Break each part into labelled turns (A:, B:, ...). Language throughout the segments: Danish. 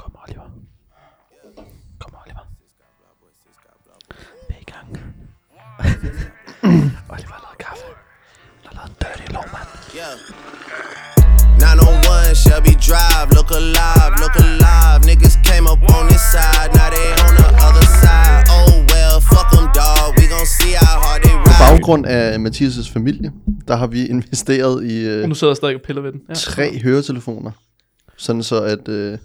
A: Kom, Oliver. Kom, Oliver. Vi er i gang. Oliver har lavet kaffe. Han har lavet dirty lovmand.
B: Yeah. 901 Shelby Drive, look alive, look alive. Niggas came up on this side, now they on the other side. Oh well, fuck them, dog. We gon' see how hard they
C: På
B: ride.
C: baggrund af Mathias' familie, der har vi investeret i
D: Og
C: øh,
D: nu sidder jeg stadig og piller ved den. Ja.
C: tre høretelefoner. Sådan så, at øh,
D: Det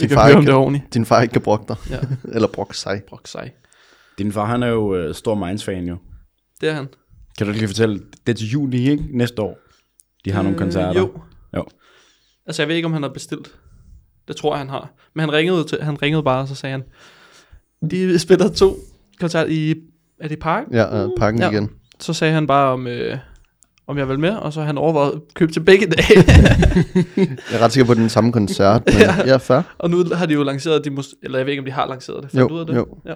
C: din,
D: kan
C: far
D: høre, om det
C: ikke,
D: er ordentligt.
C: din far ikke kan brokke dig.
D: Ja.
C: Eller brokke sig.
D: Brok sig.
E: Din far, han er jo øh, stor Minds-fan jo.
D: Det er han.
E: Kan du lige fortælle, det er til juli, ikke? Næste år. De har øh, nogle koncerter.
D: Jo.
E: jo.
D: Altså, jeg ved ikke, om han har bestilt. Det tror jeg, han har. Men han ringede, til, han ringede bare, og så sagde han, de spiller to koncerter i, er det i parken?
C: Ja, øh, pakken
D: Ja.
C: ja. igen.
D: Så sagde han bare, om, øh, om jeg vil med, og så har han overvejet at købe til begge dage.
C: Jeg er ret sikker på, at det er den samme koncert, men ja, ja fair.
D: og nu har de jo lanceret, at de mus- eller jeg ved ikke, om de har lanceret det. Fandt
C: Jo,
D: du ud af det?
C: jo.
D: Ja.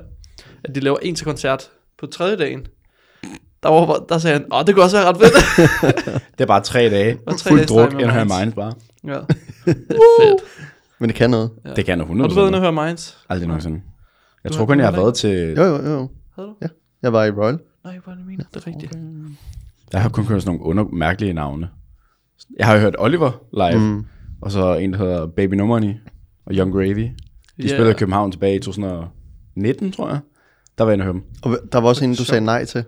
D: At de laver en til koncert på tredje dagen. Der, var, der sagde han, åh, det kunne også være ret fedt.
E: Det er bare tre dage.
D: Og tre
E: Fuld
D: dages
E: druk,
D: time med
E: ind og høre
D: Minds.
E: Minds bare.
D: ja. Det er fedt.
C: Men det kan noget.
D: Ja.
E: Det kan jeg 100
D: Har du været inde og høre Minds?
E: Aldrig nogensinde. Jeg
D: Du
E: tror
D: har-
E: kun,
D: du
E: jeg
D: har
E: har været til...
C: Jo, jo, jo.
D: Havde du?
C: Ja. Jeg var i Royal.
D: Nej, hvor er det mener. Det er rigtigt.
E: Jeg har kun hørt sådan nogle under, mærkelige navne. Jeg har hørt Oliver live, mm.
C: Mm.
E: og så en, der hedder Baby No Money og Young Gravy. De
D: Ja.
E: yeah. spillede i København tilbage i 2019, tror jeg. Der var jeg inde og høre dem.
C: Og hva- der var også en, du sagde nej til.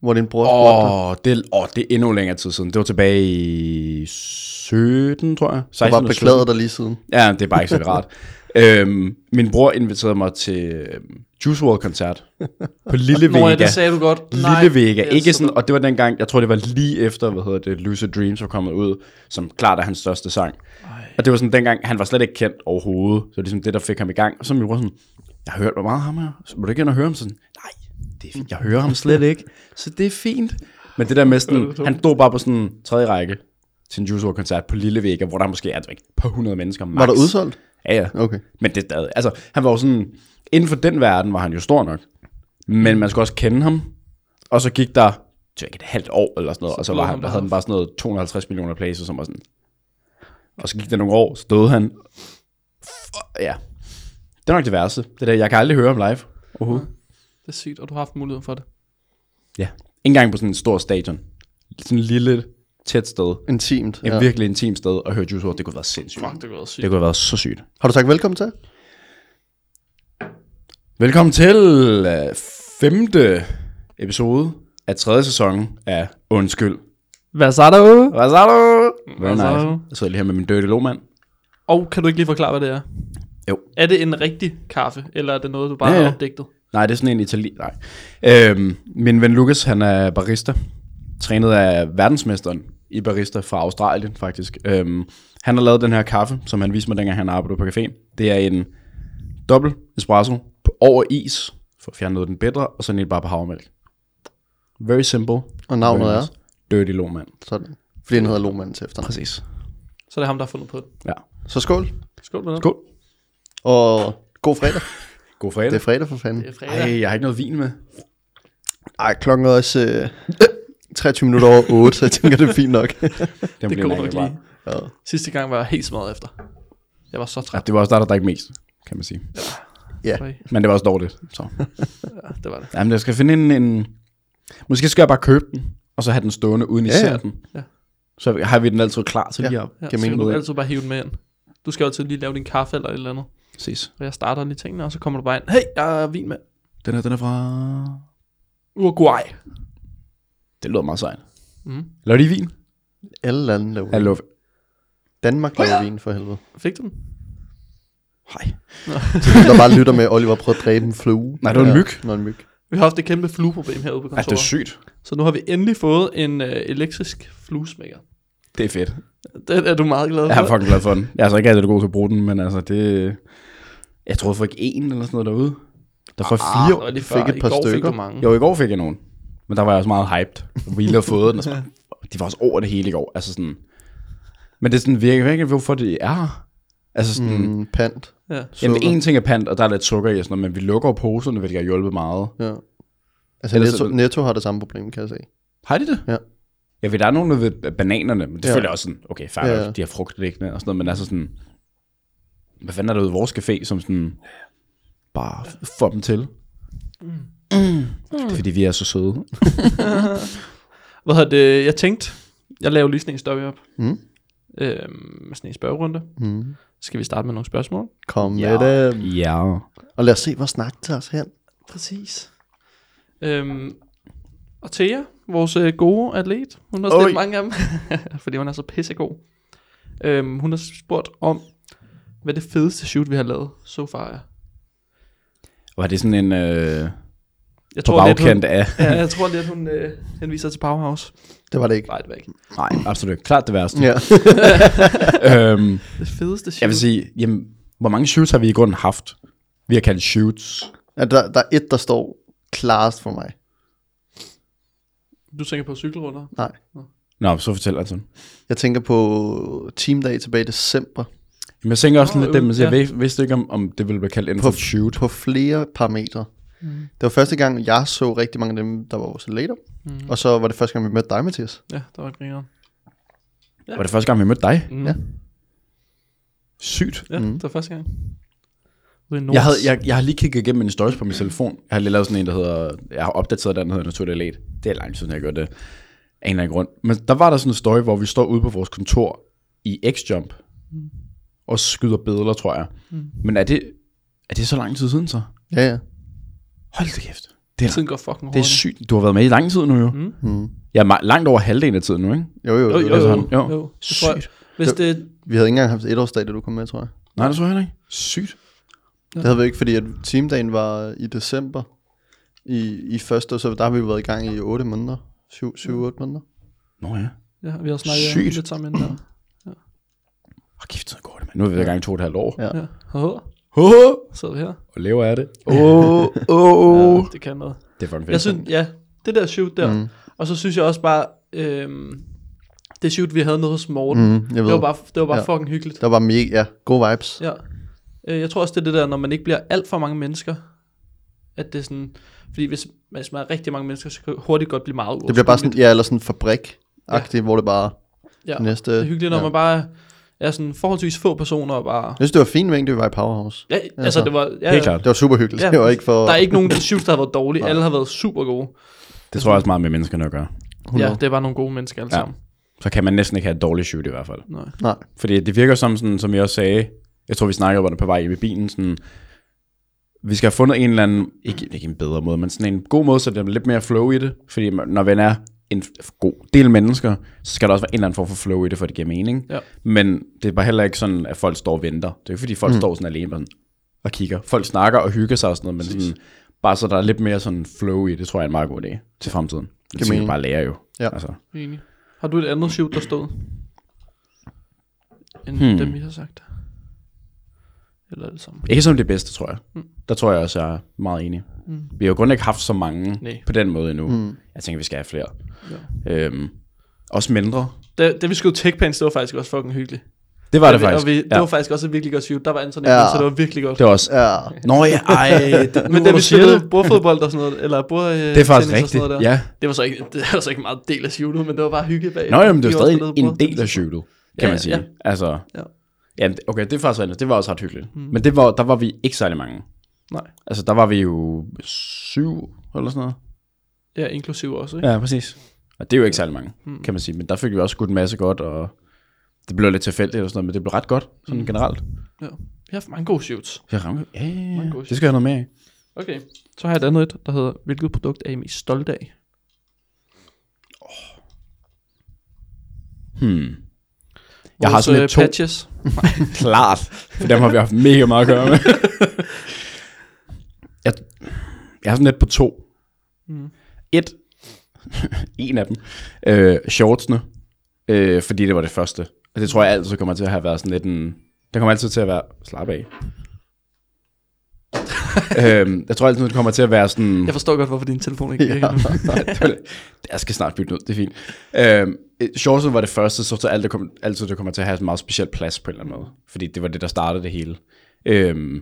C: Hvor din bror spurgte dig.
E: Åh, oh, det, oh, det er endnu længere tid siden. Det var tilbage i 17, tror jeg. 16
C: Jeg var
E: eller 17.
C: beklaget dig lige siden.
E: Ja, det er bare ikke så rart. øhm, min bror inviterede mig til øhm, Juice WRLD-koncert på Lille Vega.
D: Nå ja, det sagde du godt.
E: Lille Vega,
D: det er
E: ikke
D: så
E: sådan,
D: dumt.
E: og det var dengang, jeg tror det var lige efter, hvad hedder det, Lucid Dreams var kommet ud, som klart er hans største sang. Ej. Og det var sådan dengang, han var slet ikke kendt overhovedet, så det er ligesom det, der fik ham i gang. Og så min bror sådan, jeg har hørt, hvor meget ham her, så må du ikke ind og høre ham sådan, nej, det er fint, jeg hører ham slet ikke, så det er fint. Men det der med sådan, han stod bare på sådan en tredje række til en Juice WRLD koncert på Lille Vega, hvor der måske er et par hundrede mennesker max.
C: Var der udsolgt?
E: Ja, ja.
C: Okay.
E: Men det, er- altså, han var jo sådan, inden for den verden var han jo stor nok,
D: Mm.
E: men man skulle også kende ham, og så gik der, tror jeg ikke, et halvt år eller sådan noget, så og så
D: blev
E: var
D: han
E: han, der
D: bare-
E: havde han bare sådan noget 250 millioner plays, og så var sådan, og så gik der nogle år, så døde han. Fuck, ja. Det er nok det værste. Det der, jeg kan aldrig høre ham live. Overhovedet.
D: Det er sygt, og du har haft muligheden for det.
E: Ja. Ikke engang på sådan en stor stadion. Sådan et lille, tæt sted.
C: Intimt.
E: Et
C: Ja.
E: virkelig intimt sted at høre Juice WRLD. Det kunne have været sindssygt.
D: Fuck, det kunne være sygt.
E: Det kunne have været så sygt.
C: Har du sagt velkommen til?
E: Velkommen til øh, femte episode af tredje sæson af Undskyld.
D: Hvad så der ude?
E: Hvad så du?
D: Hvad
E: Very
D: så?
E: nice. Jeg sidder lige her med min dirty lomand.
D: Og kan du ikke lige forklare, hvad det er?
E: Jo.
D: Er det en rigtig kaffe, eller er det noget, du bare
E: Ja,
D: ja, ja.
E: ja.
D: har opdigtet?
E: Nej, det er sådan en itali... Nej. Øhm, min ven Lukas, han er barista. Trænet af verdensmesteren i barista fra Australien, faktisk. Øhm, han har lavet den her kaffe, som han viste mig, dengang han arbejdede på caféen. Det er en dobbelt espresso på over is, for at fjerne noget af den bedre, og så en lille bare på havremælk. Very simple.
C: Og navnet
E: Very
C: er?
E: nice. Dirty Lohmann.
C: Sådan. Fordi han hedder Lohmann til efternavn.
E: Præcis.
D: Så er det ham, der har fundet på det.
E: Ja.
C: Så skål.
D: Skål med det.
E: Skål.
C: Og god fredag.
E: God
C: Det
E: fredag.
C: er fredag for fanden.
D: Det er fredag.
E: Ej, jeg har ikke noget vin med.
C: Ej, klokken er også øh, 23 minutter over 8, så jeg tænker, det er fint nok.
E: Den
D: det
E: bliver
D: går
E: nok
D: nok
E: bare.
D: lige.
C: Ja.
D: Sidste gang var jeg helt smadret efter. Jeg var så
E: Ja,
D: træt.
E: det var også der, der drak mest, kan man sige.
C: Ja.
D: Sorry.
E: Men det var også dårligt. Så.
D: Ja, det var det.
E: Jamen, jeg skal finde en, en... Måske skal jeg bare købe den, og så have den stående, uden I
C: Ja, ja.
E: ser den.
D: Ja.
E: Så har vi den altid klar til
C: Ja.
E: lige at
D: Ja, så
C: Giver
D: kan
C: mening.
D: du altid bare hive den med ind. Du skal jo altid lige lave din kaffe eller et eller andet.
E: ses.
D: Og jeg starter lige tingene, og så kommer du bare ind. Hey, jeg har vin med.
E: Den er, den er fra...
D: Uruguay.
E: Det lyder meget sejt.
D: Mm.
E: Laver de vin?
C: Alle lande laver
E: Ja,
C: vin.
E: lov.
C: Danmark laver vin for helvede.
D: Fik du den?
E: Hej.
C: Der bare lytter med, at Oliver prøvede at dræbe en flue.
E: Nej, det var en myg.
C: Nå, en myg.
D: Vi har haft et kæmpe flueproblem herude på
E: Ej, det
D: kontoret.
E: er sygt.
D: så nu har vi endelig fået en øh, elektrisk fluesmækker.
E: Det er fedt.
D: Den er du meget glad for.
E: Jeg er fucking glad for den. Jeg er altså ikke altid god til at bruge den, men altså det... Jeg troede, jeg fik en eller sådan noget derude. Der var fire
D: Det var lige
C: fik
D: før.
C: et
D: I
C: par
D: går fik
C: stykker.
D: du mange.
E: Jo, i går fik jeg nogen. Men der var jeg også meget hyped. Vi lige havde fået den. Og så, bare, de var også over det hele i går. Altså sådan... Men det er sådan virkelig, virkelig hvorfor det er her. Altså sådan... Mm.
C: Mm, pant.
D: Ja.
E: Jamen,
C: sukker.
E: en ting er pant, og der er lidt sukker i og sådan noget, men vi lukker jo poserne, hvilket har hjulpet meget.
C: Ja. Altså,
E: Ellers
C: Netto,
E: er det-
C: Netto har det samme problem, kan jeg se.
E: Har de det?
C: Ja.
E: Ja, for der er nogen nede ved bananerne, men det ja.
C: Ja.
E: føler jeg også sådan, okay, fair
C: Ja.
E: ja. de har frugt liggende og sådan noget, men altså sådan, hvad fanden er der ude i vores café, som sådan, bare får dem til. Mm. Det er fordi, vi er så søde.
D: Hvad hedder det? Jeg tænkte, jeg laver lige sådan en story op. Mm. Øhm, sådan en spørgerunde. Mm. Skal vi starte med nogle spørgsmål?
C: Kom med dem.
E: ja.
C: Og lad os se, hvor snakken tager os hen.
D: Præcis. Øhm, og Thea, vores øh, gode atlet, hun har stillet
C: Oj.
D: mange af dem, fordi hun er så pissegod. Øhm, hun har spurgt om, hvad det fedeste shoot, vi har lavet so far er.
E: Var det sådan en øh,
D: Jeg
E: på
D: hun,
E: bagkant af...
D: ja, jeg tror lidt, hun øh, henviser til Powerhouse.
C: Det var det ikke.
D: Nej, det var ikke.
E: Nej, absolut. ikke. Klart det værste.
C: Ja.
E: øhm,
D: Det fedeste shoot.
E: jeg vil sige, jamen, hvor mange shoots har vi i grunden haft? Vi har kaldt shoots.
C: At der, der er et, der står klarest for mig.
D: Du tænker på cykelrunder?
C: Nej.
E: Nå, så fortæl altså.
C: Jeg tænker på teamdag tilbage i december.
E: Jamen, jeg tænker også sådan
D: Nå,
E: lidt det, men
D: ja.
E: jeg ved- vidste ikke, om, om det ville blive kaldt inden for
C: På,
E: et shoot.
C: på flere parametre. Mm. Det var første gang, jeg så rigtig mange af dem, der var vores later. Mm. Og så var det første gang, vi mødte dig, Mathias.
D: Ja, der var grineren.
E: Var det første gang, vi mødte dig?
D: Mm.
C: Ja.
E: Sygt.
D: Ja, mm. det var første gang. Ude i Nords.
E: Jeg, havde, jeg, jeg har lige kigget igennem min stories på min telefon. Jeg har lige lavet sådan en, der hedder... Jeg har opdateret den, der hedder Naturlig Late. Det er lang tid, siden, jeg har gjort det. Af en eller anden grund. Men der var der sådan en story, hvor vi står ude på vores kontor i X-Jump. Og skyder billeder, tror jeg. Men er det, er det så lang tid siden så?
C: Ja, ja.
E: Hold da kæft. Det er,
D: Tiden går fucking
E: det er
D: hurtigt.
E: sygt. Du har været med i lang tid nu jo. Mm. Jeg er ma- langt over halvdelen af tiden nu, ikke?
C: Jo, jo, jo,
D: Jo, jo, jo.
C: jo.
E: sådan. altså, Jo.
D: jo. jo. Det tror jeg. Hvis det,
C: Vi havde ikke engang haft etårsdag, da du kom med, tror jeg.
E: Nej, det tror jeg heller ikke. Sygt.
C: Det havde vi ikke, fordi at teamdagen var i december. I, i første, og så der har vi været i gang i 8 måneder. 7-8 måneder.
E: Nå ja.
D: ja, vi har snakket
E: Sygt.
D: sygt. lidt sammen inden der.
E: Åh, kæft, tiden går det, mand. Nu er vi i gang i to og et halvt år.
C: Ja.
D: Ja. Hå,
E: Ho, ho.
D: sidder vi her.
E: Og lever af det. Åh, åh, åh.
D: Ja, det kan noget.
E: Det er fucking fedt.
D: Jeg synes, ja, det der shoot der. Mm. Og så synes jeg også bare, øhm, det shoot, vi havde nede hos Morten,
C: Mm,
D: mm,
C: jeg ved.
D: det var bare, det var bare
C: Ja.
D: ja. fucking hyggeligt.
C: Der var mega, ja, gode vibes. Ja.
D: Ja. Øh, Jeg tror også, det er det der, når man ikke bliver alt for mange mennesker, at det er sådan, fordi hvis, hvis man er rigtig mange mennesker, så kan det hurtigt godt blive meget
C: Det bliver bare sådan, ja, eller sådan fabrik ja. hvor det bare...
D: ja,
C: næste-
D: Det er hyggeligt, når
C: ja.
D: ja. man bare er sådan forholdsvis få personer og bare...
C: Jeg synes, det var fint mængde, vi var i Powerhouse.
D: Ja, altså, altså det var... Ja,
E: Helt klart.
C: Det var super hyggeligt. Ja. Det var ikke for...
D: Der er ikke nogen shoots, der har været dårlige. Alle har været super gode.
E: Det tror jeg også meget med menneskerne at gøre.
D: Ja, det er bare nogle gode mennesker alle
E: Ja.
D: ja. sammen.
E: Så kan man næsten ikke have et dårligt shoot i hvert fald.
D: Nej.
C: Nej.
E: Fordi det virker som, sådan, som jeg også sagde, jeg tror vi snakkede om det på vej hjem i bilen, sådan, vi skal have fundet en eller anden, ikke, ikke en bedre måde, men sådan en god måde, så det er lidt mere flow i det. Fordi man- når man er en f- god del mennesker, så skal der også være en eller anden form for flow i det, for at det giver mening.
D: Ja.
E: Men det er bare heller ikke sådan, at folk står og venter. Det er ikke fordi folk mm. står sådan alene og sådan, og kigger. Folk snakker og hygger sig og sådan noget, men sådan, bare så der er lidt mere sådan flow i det, tror jeg er en meget god idé til fremtiden. Det skal vi
C: mening.
E: bare lære jo.
C: Ja.
E: Altså.
D: Enig. Har du et andet shoot, der stod? End hmm. dem, vi har sagt? Eller er det samme?
E: Ikke som det bedste, tror jeg. Mm. Der tror jeg også, jeg er meget enig. Mm. Vi har jo grundlæggende ikke haft så mange
D: Nej.
E: på den måde endnu. Mm. Jeg tænker, vi skal have flere. Ja. Øhm, også mindre.
D: Da, da vi skrev Techpans, det var faktisk også fucking hyggeligt.
E: Det var
D: Da
E: det
D: vi,
E: faktisk.
D: Og vi,
E: ja.
D: Det var faktisk også et virkelig godt shoot. Der var Anthony,
C: Ja.
D: ja. så det var virkelig godt.
E: det var også... Ja.
C: Ja.
E: Nå ja, ej. Det,
D: Men da vi
E: det,
D: spillede bordfodbold og sådan noget, eller bord, øh,
E: det er faktisk rigtigt.
D: Noget der,
E: Ja.
D: Det var så ikke, det var så ikke meget del af shootet, men det var bare hygge bag.
E: Nå, jamen, det
D: Vi
E: var
D: også spillede
E: stadig en
D: bordtennis.
E: del af shootet, kan
D: Ja,
E: man sige.
D: ja.
E: Altså,
D: Ja.
E: ja. okay, det er faktisk rigtigt. Det var også ret hyggeligt. Mm. Men det var, der var vi ikke særlig mange.
D: Nej.
E: Altså, der var vi jo syv eller sådan noget.
D: Ja, inklusiv også, ikke?
E: Ja, præcis. Og det er jo ikke særlig mange, mm. kan man sige. Men der fik vi også skudt en masse godt, og det blev lidt tilfældigt og sådan noget, men det blev ret godt, sådan mm. generelt.
D: Ja. Vi har haft mange gode shoots.
E: Jeg ramte, ja, ja, ja.
D: gode
E: det skal jeg have noget mere af.
D: Okay. Så har jeg et andet et, der hedder, hvilket produkt er I mest stolt af?
E: Jeg har
D: Vores,
E: sådan
D: øh,
E: lidt to,
D: patches.
E: klart, for dem har vi haft mega meget at gøre med. jeg, jeg har sådan lidt på to. Mm. Et, en af dem, øh, shortsene, øh, fordi det var det første. Og det tror jeg altid kommer til at have været sådan lidt en, det kommer altid til at være, slap af. øhm, jeg tror altid, det kommer til at være sådan...
D: Jeg forstår godt, hvorfor din telefon ikke virker. nu.
E: Nej, det var det. Jeg skal snart bytte ud, det er fint. Øhm, øh, Shortsen var det første, så tror jeg alt det kom, altid, det kommer til at have en meget speciel plads på en eller anden måde. Fordi det var det, der startede det hele. Øhm,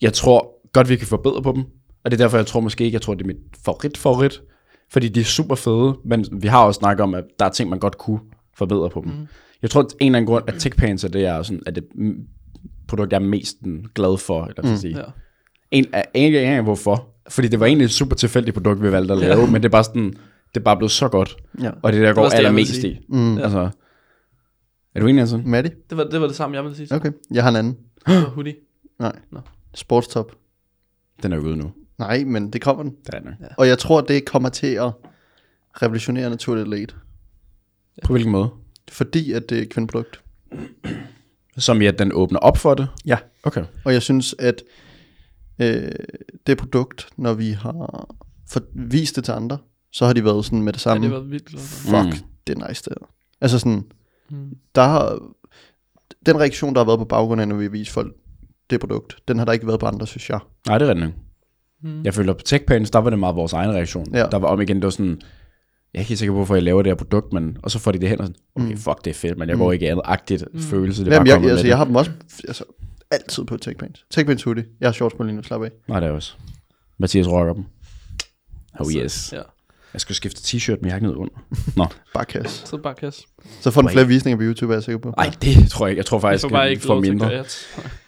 E: jeg tror godt, vi kan forbedre på dem. Og det er derfor, jeg tror måske ikke, jeg tror, det er mit favorit favorit. Fordi de er super fede, men vi har også snakket om, at der er ting, man godt kunne forbedre på dem. Mm. Jeg tror, at en eller anden grund, at TechPancer, det er sådan, at det mm, produkt, jeg er mest sådan, glad for, eller mm. sige.
D: Ja.
E: En, af- en, en, en, hvorfor. Fordi det var egentlig et super tilfældigt produkt, vi valgte at lave, men det er bare sådan, det er bare blevet så godt.
C: Ja.
E: Og det er der går
D: også det, jeg vil
E: allermest
D: sige.
E: i. Mm. Altså, er du enig, altså?
C: Matti?
D: Det var, det var det samme, jeg ville sige.
C: Okay. Jeg har en anden.
D: Det var hoodie.
C: Nej.
D: Nå.
C: Sportstop.
E: Den er jo ude nu.
C: Nej, men det kommer den.
E: Det er den. Ja.
C: Og jeg tror, det kommer til at revolutionere naturligt lidt.
E: På hvilken måde?
C: Fordi at det er et kvindeprodukt.
E: Som i, at den åbner op for det?
C: Ja.
E: Okay.
C: Og jeg synes, at øh, det produkt, når vi har for, vist det til andre, så har de været sådan med det
D: Ja,
C: samme.
D: det
C: Ja,
D: var vildt glad for.
C: Fuck, mm. det er nice det her. Altså sådan, mm. der har, den reaktion, der har været på baggrunden, af, når vi viser folk det produkt, den har der ikke været på andre, synes jeg.
E: Nej, det er rigtigt.
D: Hmm.
E: Mm. Jeg føler, på TechPans, der var det meget vores egen reaktion.
C: Ja.
E: Der var om igen, det var sådan, jeg er ikke helt sikker på, hvorfor jeg laver det her produkt, men, og så får de det hen og sådan, okay, mm. fuck, det er fedt, men jeg går ikke i andet agtigt
D: Hmm.
E: mm. følelse, det er
C: Hmm. Jamen,
E: bare
C: jeg,
E: kommet
C: altså,
E: med
C: jeg har dem også altså, altid på TechPants. TechPants hoodie. Jeg har shorts på lige nu, slap af.
E: det. Nej, det er også. Mathias rocker dem. Oh yes.
D: Ja,
E: Jeg skal skifte t-shirt, men jeg har ikke noget under. Nå,
C: Bare kasse.
D: så bare kasse.
C: Så får den flere visninger på YouTube, er jeg sikker på.
E: nej, det tror jeg ikke. Jeg tror
D: Jeg
E: faktisk,
D: får bare
E: jeg
D: ikke
E: får
D: lov til at
E: mindre.
D: gøre
E: Jeg
D: et.